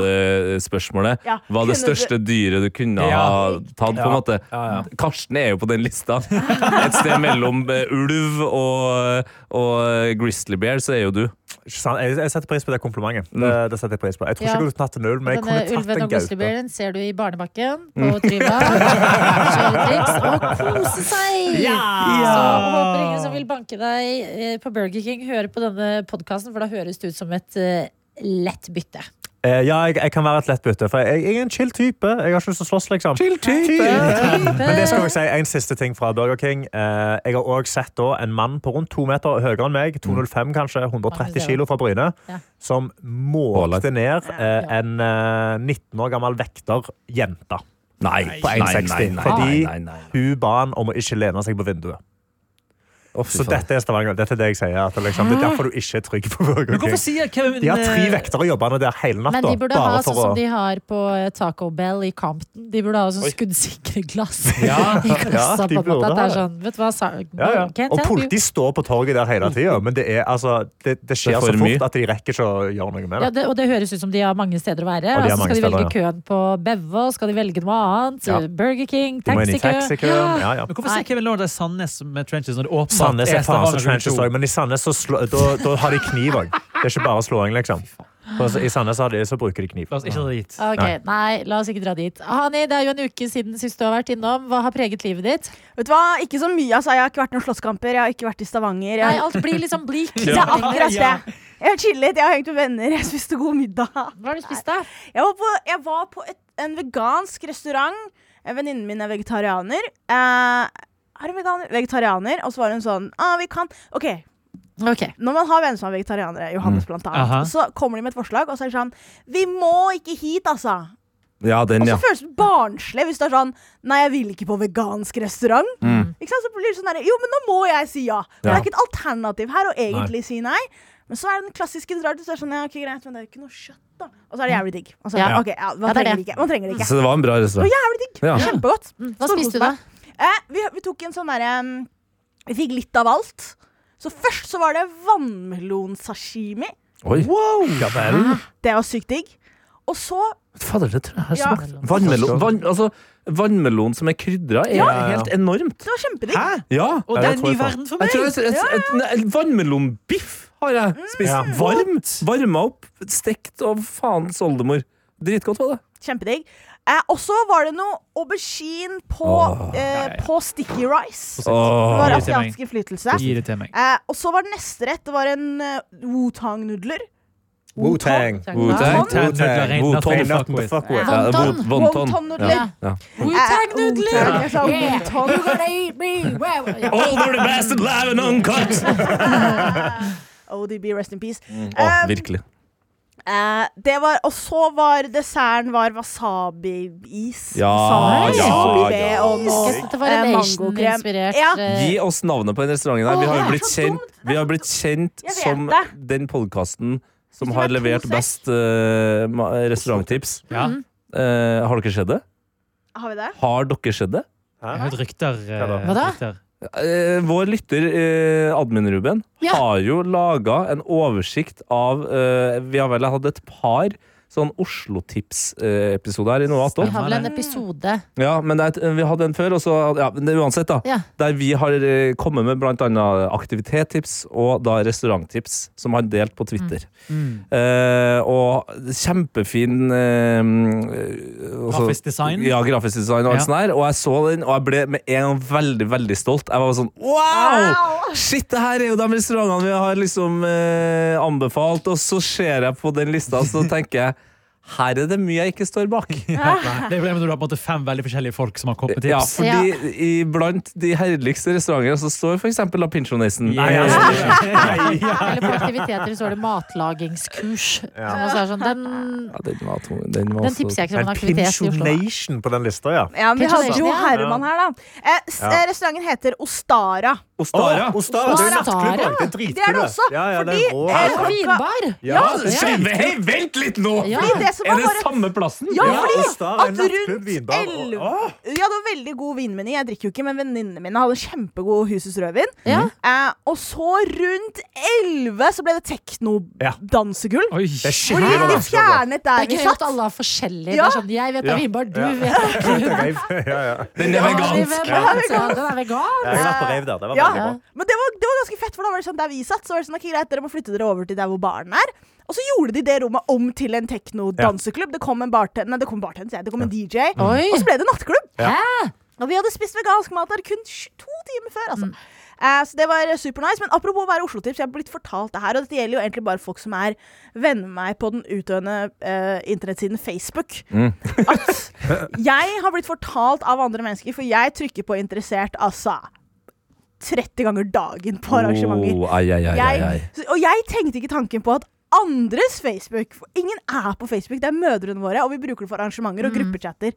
F: guttapod-spørsmålet.
E: Ja.
F: Hva er det
E: Kunne du-
F: største dyret du kunne ha
D: Ja.
F: tatt, på en måte? Karsten er jo på den lista. Et sted mellom eh, ulv og, og eh, grizzly bear, så er jo du.
C: Ikke sant? Jeg, jeg setter pris på det komplimentet.
F: Mm.
C: Det, det setter Jeg pris på. Jeg tror
B: Ja.
C: ikke jeg kunne tatt en ulv, men jeg
B: Denne
C: kunne tatt
B: ulven
C: en
B: og
C: gaupe. Mm.
B: grizzlybjørnen ser du i barnebakken på
C: [laughs]
B: Tryva. Kjøre triks og kose seg! Så håper ingen som vil banke deg eh, på Burger King, høre på denne podkasten, for da høres det ut som et eh, lett bytte.
C: Eh, ja, jeg, jeg kan være et lett bytte, for jeg, jeg er en chill type. Jeg har ikke lyst til å slåss, liksom. Men det skal jeg si, en siste ting fra Burger King. Eh, jeg har også sett da en mann på rundt to meter høyere enn
F: Mm.
C: meg, 205 kanskje, 130 kilo fra Bryne,
B: Ja.
C: som målte ned eh, en eh, 19 år gammel vekter jenta.
F: Nei,
D: Nei,
F: på
D: nei,
F: 1,60.
C: nei,
F: Fordi
C: nei, Hun ba han om å ikke lene seg på vinduet. Så dette er Stavanger. Dette er det jeg sier. At det, liksom, det er derfor du ikke er trygg på Burger
D: Men hvorfor
C: King.
D: sier Kevin
C: De har tre
D: eh,
C: vektere jobbende der hele natta.
B: Men de burde
C: bare
B: ha sånn
C: for
B: som
C: å-
B: de har på eh, Taco Bell i Compton. De burde ha sånn skuddsikre glass
D: Ja.
B: i
C: [laughs] Ja,
B: kassa.
C: de
B: på en måte. At det
C: burde
B: er
C: ha det.
B: sånn, vet du hva, sa,
C: ja, ja.
B: Can't help
C: Og
B: you.
C: politi står på torget der hele tida, men det, er, altså, det, det
F: Det
C: skjer
F: er for
C: så
F: mye.
C: fort at de rekker ikke å gjøre noe med
B: Ja,
C: det.
B: det, og det høres ut som de har mange steder å være.
C: Og de
B: Altså,
C: har
B: skal
C: mange
B: de velge
C: steder,
B: køen på Bevo? Skal de velge noe annet?
C: Ja.
B: Burger King?
C: De må inn i
B: Taxikø?
C: taxikø. Ja, ja.
D: Men hvorfor sier Kevin Lord det er Sandnes med trenches når det åpenbart
C: Sandnes er faen så
D: Stavanger
C: trenches
D: kultur?
C: òg, men i Sandnes så slå, da, da har de kniv òg. Det er ikke bare slåing, liksom. For I Sandnes har de, så bruker de kniv.
D: La oss ikke dra dit.
B: Ok, nei. la oss ikke dra dit. Hani, det er jo en uke siden sist du har vært innom. Hva har preget livet ditt?
E: Vet du hva, ikke så mye. Altså. Jeg har ikke vært i noen slåsskamper, jeg har ikke vært i Stavanger. Jeg...
B: Nei, alt blir liksom [laughs] bleak.
E: Det er
B: Hva
E: akkurat
D: Ja.
E: det. Jeg har chillet, jeg har hengt med venner, jeg spiste god middag.
B: har du spist, da?
E: Jeg var på, jeg var på et, en vegansk restaurant. Eh, Venninnen min er vegetarianer. Eh, er hun veganer? Vegetarianer. Og så var hun sånn ah, vi kan. OK,
B: Ok.
E: når man har venner som er vegetarianere, Johannes blant annet,
D: Aha.
E: så kommer de med et forslag, og så er det sånn Vi må ikke hit, altså.
F: Ja, den,
E: Og så
F: ja.
E: føles det barnslig hvis det er sånn Nei, jeg vil ikke på vegansk restaurant. Ikke sant? Så blir det sånn der, Jo, men nå må jeg si ja.
F: Mm.
E: For Det
F: Ja.
E: er ikke et alternativ her å egentlig si nei. Men så er det den klassiske du drar til, så er det sånn Ja, ok, greit, men det er jo ikke noe kjøtt, da. Og så er det jævlig digg. Og så er det,
B: Ja.
E: ok, ja,
B: Ja,
E: man,
B: det er
E: trenger
B: det. Mm.
E: det ikke. man trenger det ikke.
F: Så det var en bra
E: Det var
F: restaurant.
E: jævlig digg.
F: Ja.
E: Kjempegodt.
B: Hva spiste du, da?
E: Eh, vi, vi tok en sånn derre um, Vi fikk litt av alt. Så først så var det vannmelonsashimi.
F: Oi,
C: Wow! Ja vel.
E: Det var sykt digg. Og så
F: fader, det tror jeg her
E: Ja.
F: smakte Vannmelon, vann, altså, vannmelon som er krydra, er helt enormt.
E: Det var kjempedigg.
D: Hæ?
F: Ja.
D: Og
C: Ja,
D: det
C: det
D: er en
C: tror
D: ny
C: jeg på.
D: verden for
F: Jeg
D: meg!
F: tror jeg, jeg, jeg, en Vannmelonbiff har jeg spist.
C: Ja.
F: Varm. Varma opp, stekt av faens oldemor. Dritgodt var det.
E: Kjempedigg. Eh, og så var det noe aubergine på,
F: Åh.
E: eh, på sticky rice. Det
F: Åh.
D: Irriterer
E: var
D: meg.
E: asiatisk innflytelse.
D: Gi det til meg.
E: Eh, og så var det neste rett Det var en eh, wutang-nudler.
C: Wu-Tang.
F: Wu-Tang.
D: Tan nudler, rein
C: Wu-Tang. Ain't
D: nudler, fuck
C: nothing to
D: with.
C: fuck with.
F: Ja, det er
B: Wonton.
F: won- wonton.
E: Wonton-nudler.
F: Ja. Ja.
E: Eh, Wutang-nudler! Jeg sa
B: Yeah.
E: wutang.
B: You're gonna eat [laughs] me. Wow. Ja.
F: All the best live and uncut!
E: ODB, rest in peace.
F: Åh,
E: Um,
F: virkelig.
E: Eh, det var, og så var desserten var wasabi-is.
F: Ja,
E: Wasabi,
F: ja,
E: wasabi
F: ja.
E: og noe
B: Dette var en
E: Eh,
B: Asian-inspirert
E: Ja.
B: eh,
F: Gi oss navnet på den restauranten. her. Vi har jo
E: Åh,
F: blitt
E: det er så dumt.
F: kjent, vi har blitt kjent
E: Jeg vet
F: som
E: det.
F: den podkasten som
E: Hvis det
F: har
E: var to
F: levert
E: seks.
F: best eh, ma- restauranttips.
D: Ja.
F: Eh, har dere sett det?
E: Har vi det?
F: Har dere sett det?
D: Jeg har hørt rykter. eh,
C: da?
B: Hva da?
D: [laughs] rykter.
F: Eh, vår lytter, eh, admin-Ruben,
B: Ja.
F: har jo laga en oversikt av eh, Vi har vel hatt et par sånn Oslo-tips-episoder her i Noe
B: Vi
F: attåt.
B: har vel en episode.
F: Ja, men det, er et- eh, vi hadde en før, og så ja, men det, er Uansett, da.
B: Ja.
F: Der vi har eh, kommet med bl.a. aktivitetstips og da restauranttips, som han delte på Twitter.
D: Mm.
F: Eh, og kjempefin eh, også-
D: Grafisk design.
F: Ja, grafisk design og alt
D: Ja.
F: sånt der. Og jeg så den, og jeg ble med en gang veldig, veldig stolt. Jeg var sånn wow! Shit, det her er jo de restaurantene vi har liksom eh, anbefalt. Og så ser jeg på den lista, så tenker jeg her er det mye jeg ikke står bak.
D: Det er problemet når du har på en måte fem veldig forskjellige folk som har kommet med
F: Ja,
D: tips.
F: fordi iblant de herligste restaurantene så står f.eks. La Pinchonaisen.
D: Nei, altså,
B: Eller på aktiviteter så er det matlagingskurs. Som også er sånn, den,
F: Ja, den var tung. Den var
B: den
F: så-
B: tipser jeg ikke som
C: En
B: en aktivitet i
C: Pincho
B: Oslo.
C: Nation på den lista, ja.
E: Ja, men Vi hadde jo
B: Ja.
E: Herman her, da. Eh, s-
C: Ja.
E: eh, Restauranten heter Ostara.
F: Ostara.
C: Å, Ostara. Det er
B: Ostara.
C: jo nattklubb også. Det er
E: Det er det
C: dritkule.
E: også,
C: Ja, ja, det
E: fordi-
C: er rå.
E: eh,
B: Og vinbar!
C: Ja,
B: ja.
F: Skjeve, hei, vent litt nå!
B: Ja.
E: Fordi det som var bare-
F: samme plassen?
E: Ja,
C: Ja,
E: fordi
C: Ostara er
E: at
C: en nattklubb,
E: rundt
C: vinbar, og-
E: 11 Ja, det var veldig god vinmeny. Jeg drikker jo ikke, men venninnene mine hadde kjempegod Husets rødvin.
C: Mhm.
B: Ja.
E: Eh, og så rundt 11 så ble det
C: Ja.
E: tekno-dansegull.
D: [laughs] Oi.
C: Det er
E: Hvor
C: skikkelig
E: de, de
C: vanskelig.
E: fjernet
B: Det
E: der
B: er
E: vi
B: gøy at
E: satt.
B: alle er forskjellige. Det
E: Ja.
B: er sånn, jeg vet det er vinbar, du vet
C: Rave. [laughs] Ja, ja.
F: Den er vegansk.
B: det er vegan. Den er vegan.
C: Jeg har vært på rave der. Det var
E: Ja,
C: veldig bra.
E: men det var, det var ganske fett, for da var det sånn der vi satt, så var det sånn, ok greit, dere må flytte dere over til der hvor baren er. Og så gjorde de det rommet om til en tekno-danseklubb. Det kom en bartender, nei, det kom bartender, sier jeg, det kom en DJ.
B: Oi.
E: Og så ble det nattklubb.
C: Ja.
E: Og vi hadde spist vegansk mat der kun sj- to timer før, altså. Eh, så det var super nice. Men apropos å være Oslo-tips, jeg har blitt fortalt det her, og dette gjelder jo egentlig bare folk som er venner med meg på den utøvende eh, internettsiden Facebook. At jeg har blitt fortalt av andre mennesker, for jeg trykker på interessert, altså 30 ganger dagen på arrangementer.
F: Oh, ai, ai, ai, ai, ai.
E: Jeg, og jeg tenkte ikke tanken på at andres
B: Mm.
E: Facebook for Ingen er på Facebook, det er mødrene våre, og vi bruker det for arrangementer og gruppechatter.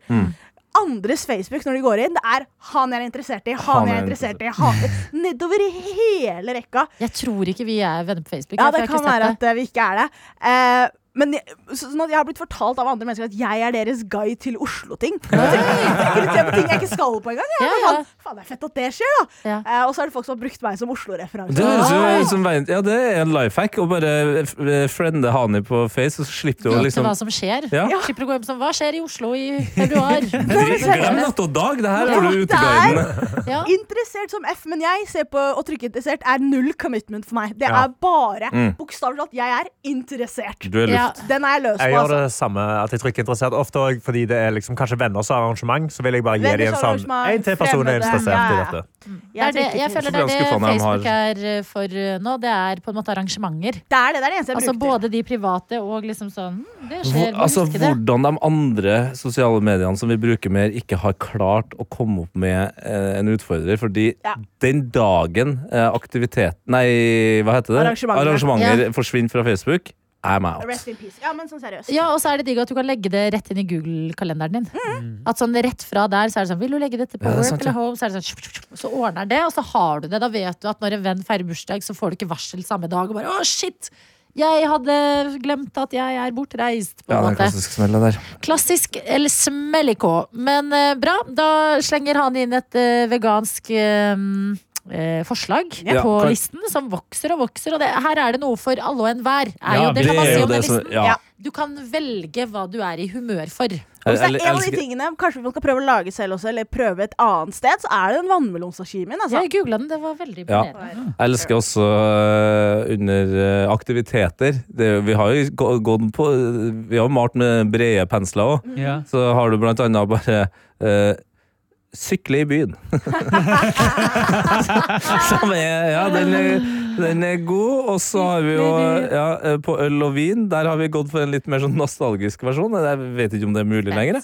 E: andres Facebook når de går inn. Det er 'han jeg er interessert i', 'han jeg er interessert i', han [laughs] Nedover i hele rekka.
B: Jeg tror ikke vi er venner på Facebook.
E: Ja,
B: for jeg
E: det
B: har ikke
E: kan
B: sett det.
E: være at eh, vi ikke er det. Eh, men jeg, så- sånn at jeg har blitt fortalt av andre mennesker at jeg er deres guide til Oslo-ting. Jeg tenker litt på ting jeg ikke skal på engang. jeg.
B: Ja,
E: Men
B: ja.
E: Faen, faen, det er fett at det skjer, da.
B: Ja.
E: Eh, og så er det folk som har brukt meg som Oslo-referanse.
F: Det høres
B: Ah.
F: jo ut som veien Ja, det er en life hack. Å bare f- f- friende Hani på Face, og så slipper du å
B: Vite
F: liksom
B: hva som skjer.
F: Ja.
B: Slipper å gå hjem som Hva skjer i Oslo i
F: [laughs]
B: februar?
F: Drit- Glem natt og dag! Det her har du
E: Ja,
F: uteguiden.
B: Ja.
E: Interessert som F, men jeg ser på og trykkeinteressert er null commitment for meg. Det
C: Ja.
E: er bare
F: Mm.
E: bokstavelig talt jeg er interessert.
F: Du er
B: Ja.
F: luft.
E: Den er jeg løs på.
C: Jeg gjør
E: Altså.
C: det samme at jeg trykker interessert ofte også, fordi det er liksom kanskje venners arrangement. Så vil jeg bare gi
E: Venners
C: dem en sånn
E: arrangement,
C: En til person er
E: fremmede,
C: interessert i
E: ja.
C: dette.
B: Det er det, jeg føler
E: trykker ikke.
B: det er det
F: Ganske fan av dem har-
B: Facebook er eh, for eh, nå. Det er på en måte arrangementer.
E: det er det, det er det eneste jeg
B: Altså
E: bruker.
B: Både de private og liksom sånn hm, Det skjer,
F: Hvor,
B: må
F: altså,
B: huske det.
F: hvordan de andre sosiale mediene som vi bruker mer, ikke har klart å komme opp med eh, en utfordrer. Fordi
E: Ja.
F: den dagen eh, aktivitet Nei, hva heter det?
E: Arrangementer.
F: Arrangementer forsvinner fra Facebook, I'm out.
E: Rest in peace. Ja, men sånn seriøst.
B: Ja, og så er det digg at du kan legge det rett inn i Google-kalenderen din.
E: Mm.
B: At sånn rett fra der så er det sånn Vil du legge dette på
F: Ja, det er
B: work
F: sant, ja.
B: eller home? Så er det sånn Så ordner det, og så har du det. Da vet du at når en venn feirer bursdag, så får du ikke varsel samme dag. Og bare å, shit! Jeg hadde glemt at jeg er bortreist, på
F: Ja,
B: en
F: den
B: måte.
F: klassiske smellen der.
B: Klassisk eller smelliko. Men eh, bra, da slenger han inn et eh, vegansk eh, eh, forslag
F: Ja,
B: på
F: kan-
B: listen, som vokser og vokser. Og det, her er det noe for alle og enhver. Er
D: Ja,
B: jo, det
F: Det
B: kan man
F: er
B: si
F: jo
B: om
F: det
B: den
F: som
B: listen.
F: Ja.
E: Ja.
B: Du kan velge hva du er i humør for.
E: Hvis det
F: Eller-
E: er en av de
F: elsker-
E: tingene Kanskje vi skal prøve å lage selv også, eller prøve et annet sted, så er det den vannmelonsashimien. Altså.
B: Jeg googla den, det var veldig
F: Ja.
B: imponerende.
F: Jeg elsker også øh, under øh, aktiviteter. Det, vi har jo gå- gått på Vi har malt med brede pensler òg.
D: Ja.
F: Så har du blant annet bare øh, Sykle i byen. [laughs] Som er Ja, den er, den er god. Og så har vi jo ja, øh, på øl og vin, der har vi gått for en litt mer sånn nostalgisk versjon. Jeg vet ikke om det er mulig lenger. jeg.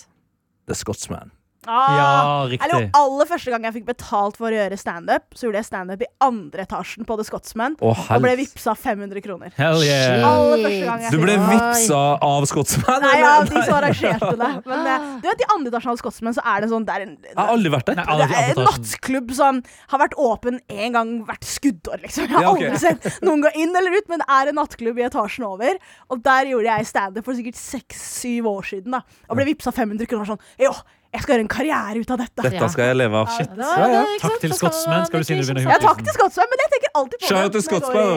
F: The Scotsman.
E: Ah.
D: Ja,
E: Eller
D: riktig.
E: jo, aller første gang jeg fikk betalt for å gjøre standup, så gjorde jeg standup i andre etasjen på The Scotsman
F: Å,
E: og ble
F: hel-
E: vippsa 500 kroner.
D: Hell yeah.
E: Aller første gang jeg
F: Du ble
E: fikk det.
F: vipsa av Scotsman?
E: Nei,
F: eller?
E: ja, de som arrangerte [laughs] det. Men eh, du vet, i andre etasjen av Scotsman så er det sånn Det er en, det
F: Jeg har aldri vært der.
D: Nei,
E: er
D: alle
E: en
D: andre tar-
E: nattklubb som har vært åpen én gang hvert skuddår, liksom. Jeg har
F: Ja, ok.
E: aldri sett noen gå inn eller ut, men det er en nattklubb i etasjen over. Og der gjorde jeg standup for sikkert seks-syv år siden, da. Og ble vippsa 500 kroner og var sånn Jo, jeg skal gjøre en karriere ut av dette.
F: Dette skal jeg leve av. Shit.
B: Det var- det, ikke
D: Takk
B: sant?
D: til
B: Så skal man
D: Scotsman, skal du si når du
B: virkelig
D: begynner å
E: Ja, takk til Scotsman, men jeg tenker alltid på
F: Shout
E: det.
F: out til
E: når jeg Går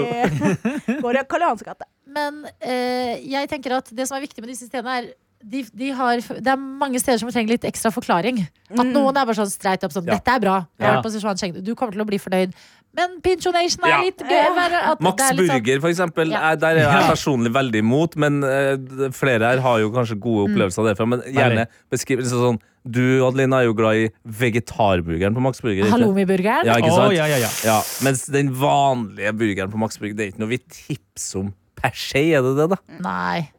E: i, [laughs] går i Karl Johans gate.
B: Men eh, jeg tenker at det som er viktig med disse stedene, er de, de har, det er mange steder som trenger litt ekstra forklaring. At noen er bare sånn streit opp sånn
F: Mm. Ja.
B: 'Dette er bra. Jeg har
D: Ja.
B: vært på Sichuan Cheng. Du kommer til å bli fornøyd.' Men Pincho Nation er
F: Ja.
B: litt gøy. Bare at det
F: Max
B: er litt sånn-
F: Burger, for eksempel.
B: Ja.
F: er- Der er jeg personlig veldig imot, men eh, d- flere her har jo kanskje gode
B: Mm.
F: opplevelser derfra. Men gjerne
D: Veldig.
F: beskriv liksom sånn Du, Adeline, er jo glad i vegetarburgeren på Max Burger. ikke?
B: Halloumi-burgeren.
F: Ja, ikke
D: Å,
F: sant?
D: ja, ja, ja.
F: Ja, Mens den vanlige burgeren på Max Burger, det er ikke noe vi tipser om per se, er det det, da?
B: Nei.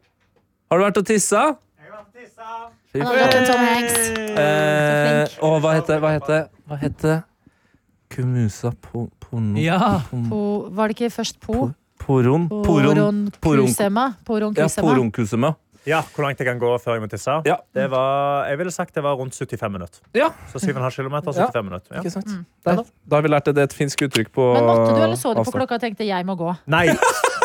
F: Har du vært og tissa?
B: Han hadde hatt en Tom Hanks.
F: Eh, og hva heter Hva heter Hva heter Kumusa po, porno...
D: Ja.
B: Po, var det ikke først Po?
F: Poron? Poron.
B: Poron
F: Poron-
B: Kusema. Poron
F: Ja,
B: Kusema.
F: poronkusuma.
C: Ja, Hvor langt jeg kan gå før jeg må tisse?
F: Ja.
C: Det var, jeg ville sagt det var rundt 75 minutter.
F: Ja.
C: Så 7,5 km, 75 minutter. Ja.
F: Ikke sant? Der, da har vi lært det. Det er et finsk uttrykk på
B: Mm. Men måtte du, eller så du på
F: avstand.
B: klokka og tenkte 'jeg må gå'?
C: Nei,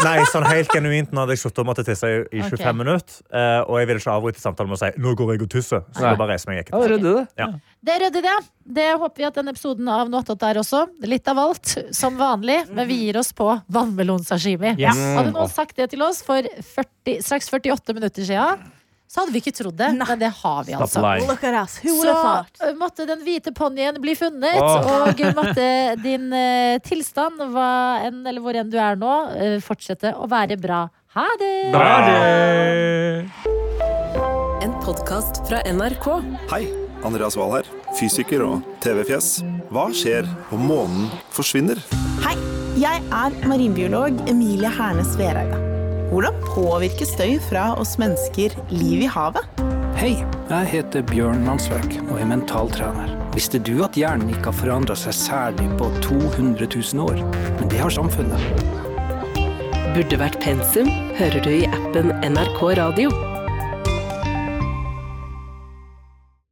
C: nei, sånn helt genuint nå hadde jeg sluttet å måtte tisse i, i 25
B: Ok.
C: minutter. eh, og jeg ville ikke avbryte samtalen med å si 'nå går jeg og tisser'. Så
F: Nei.
C: da bare reiser jeg meg
F: Ja,
C: ikke.
F: ryddig det.
B: Det rydder det. Det håper vi at denne episoden av Noe attåt er også. Litt av alt, som vanlig. Men vi gir oss på vannmelonsashimi.
D: Yes.
B: Hadde noen sagt det til oss for 40, straks 48 minutter siden, så hadde vi ikke trodd det. Men det har vi, altså.
E: Look at us. Who would
B: Så
E: have thought?
B: eh, måtte den hvite ponnien bli funnet,
F: Åh.
B: og måtte din eh, tilstand, hva enn eller hvor enn du er nå, eh, fortsette å være bra. Ha det!
D: Ha det!
G: En podkast fra NRK.
H: Hei, Andreas Wahl her, fysiker og TV-fjes. Hva skjer om månen forsvinner?
I: Hei, jeg er marinbiolog Emilie Hernes Vereide. Hvordan påvirker støy fra oss mennesker liv i havet?
J: Hei, jeg heter Bjørn Mansverk og er mentaltrener. Visste du at hjernen ikke har forandra seg særlig på 200 000 år? Men det har samfunnet.
G: Burde vært pensum, hører du i appen NRK Radio.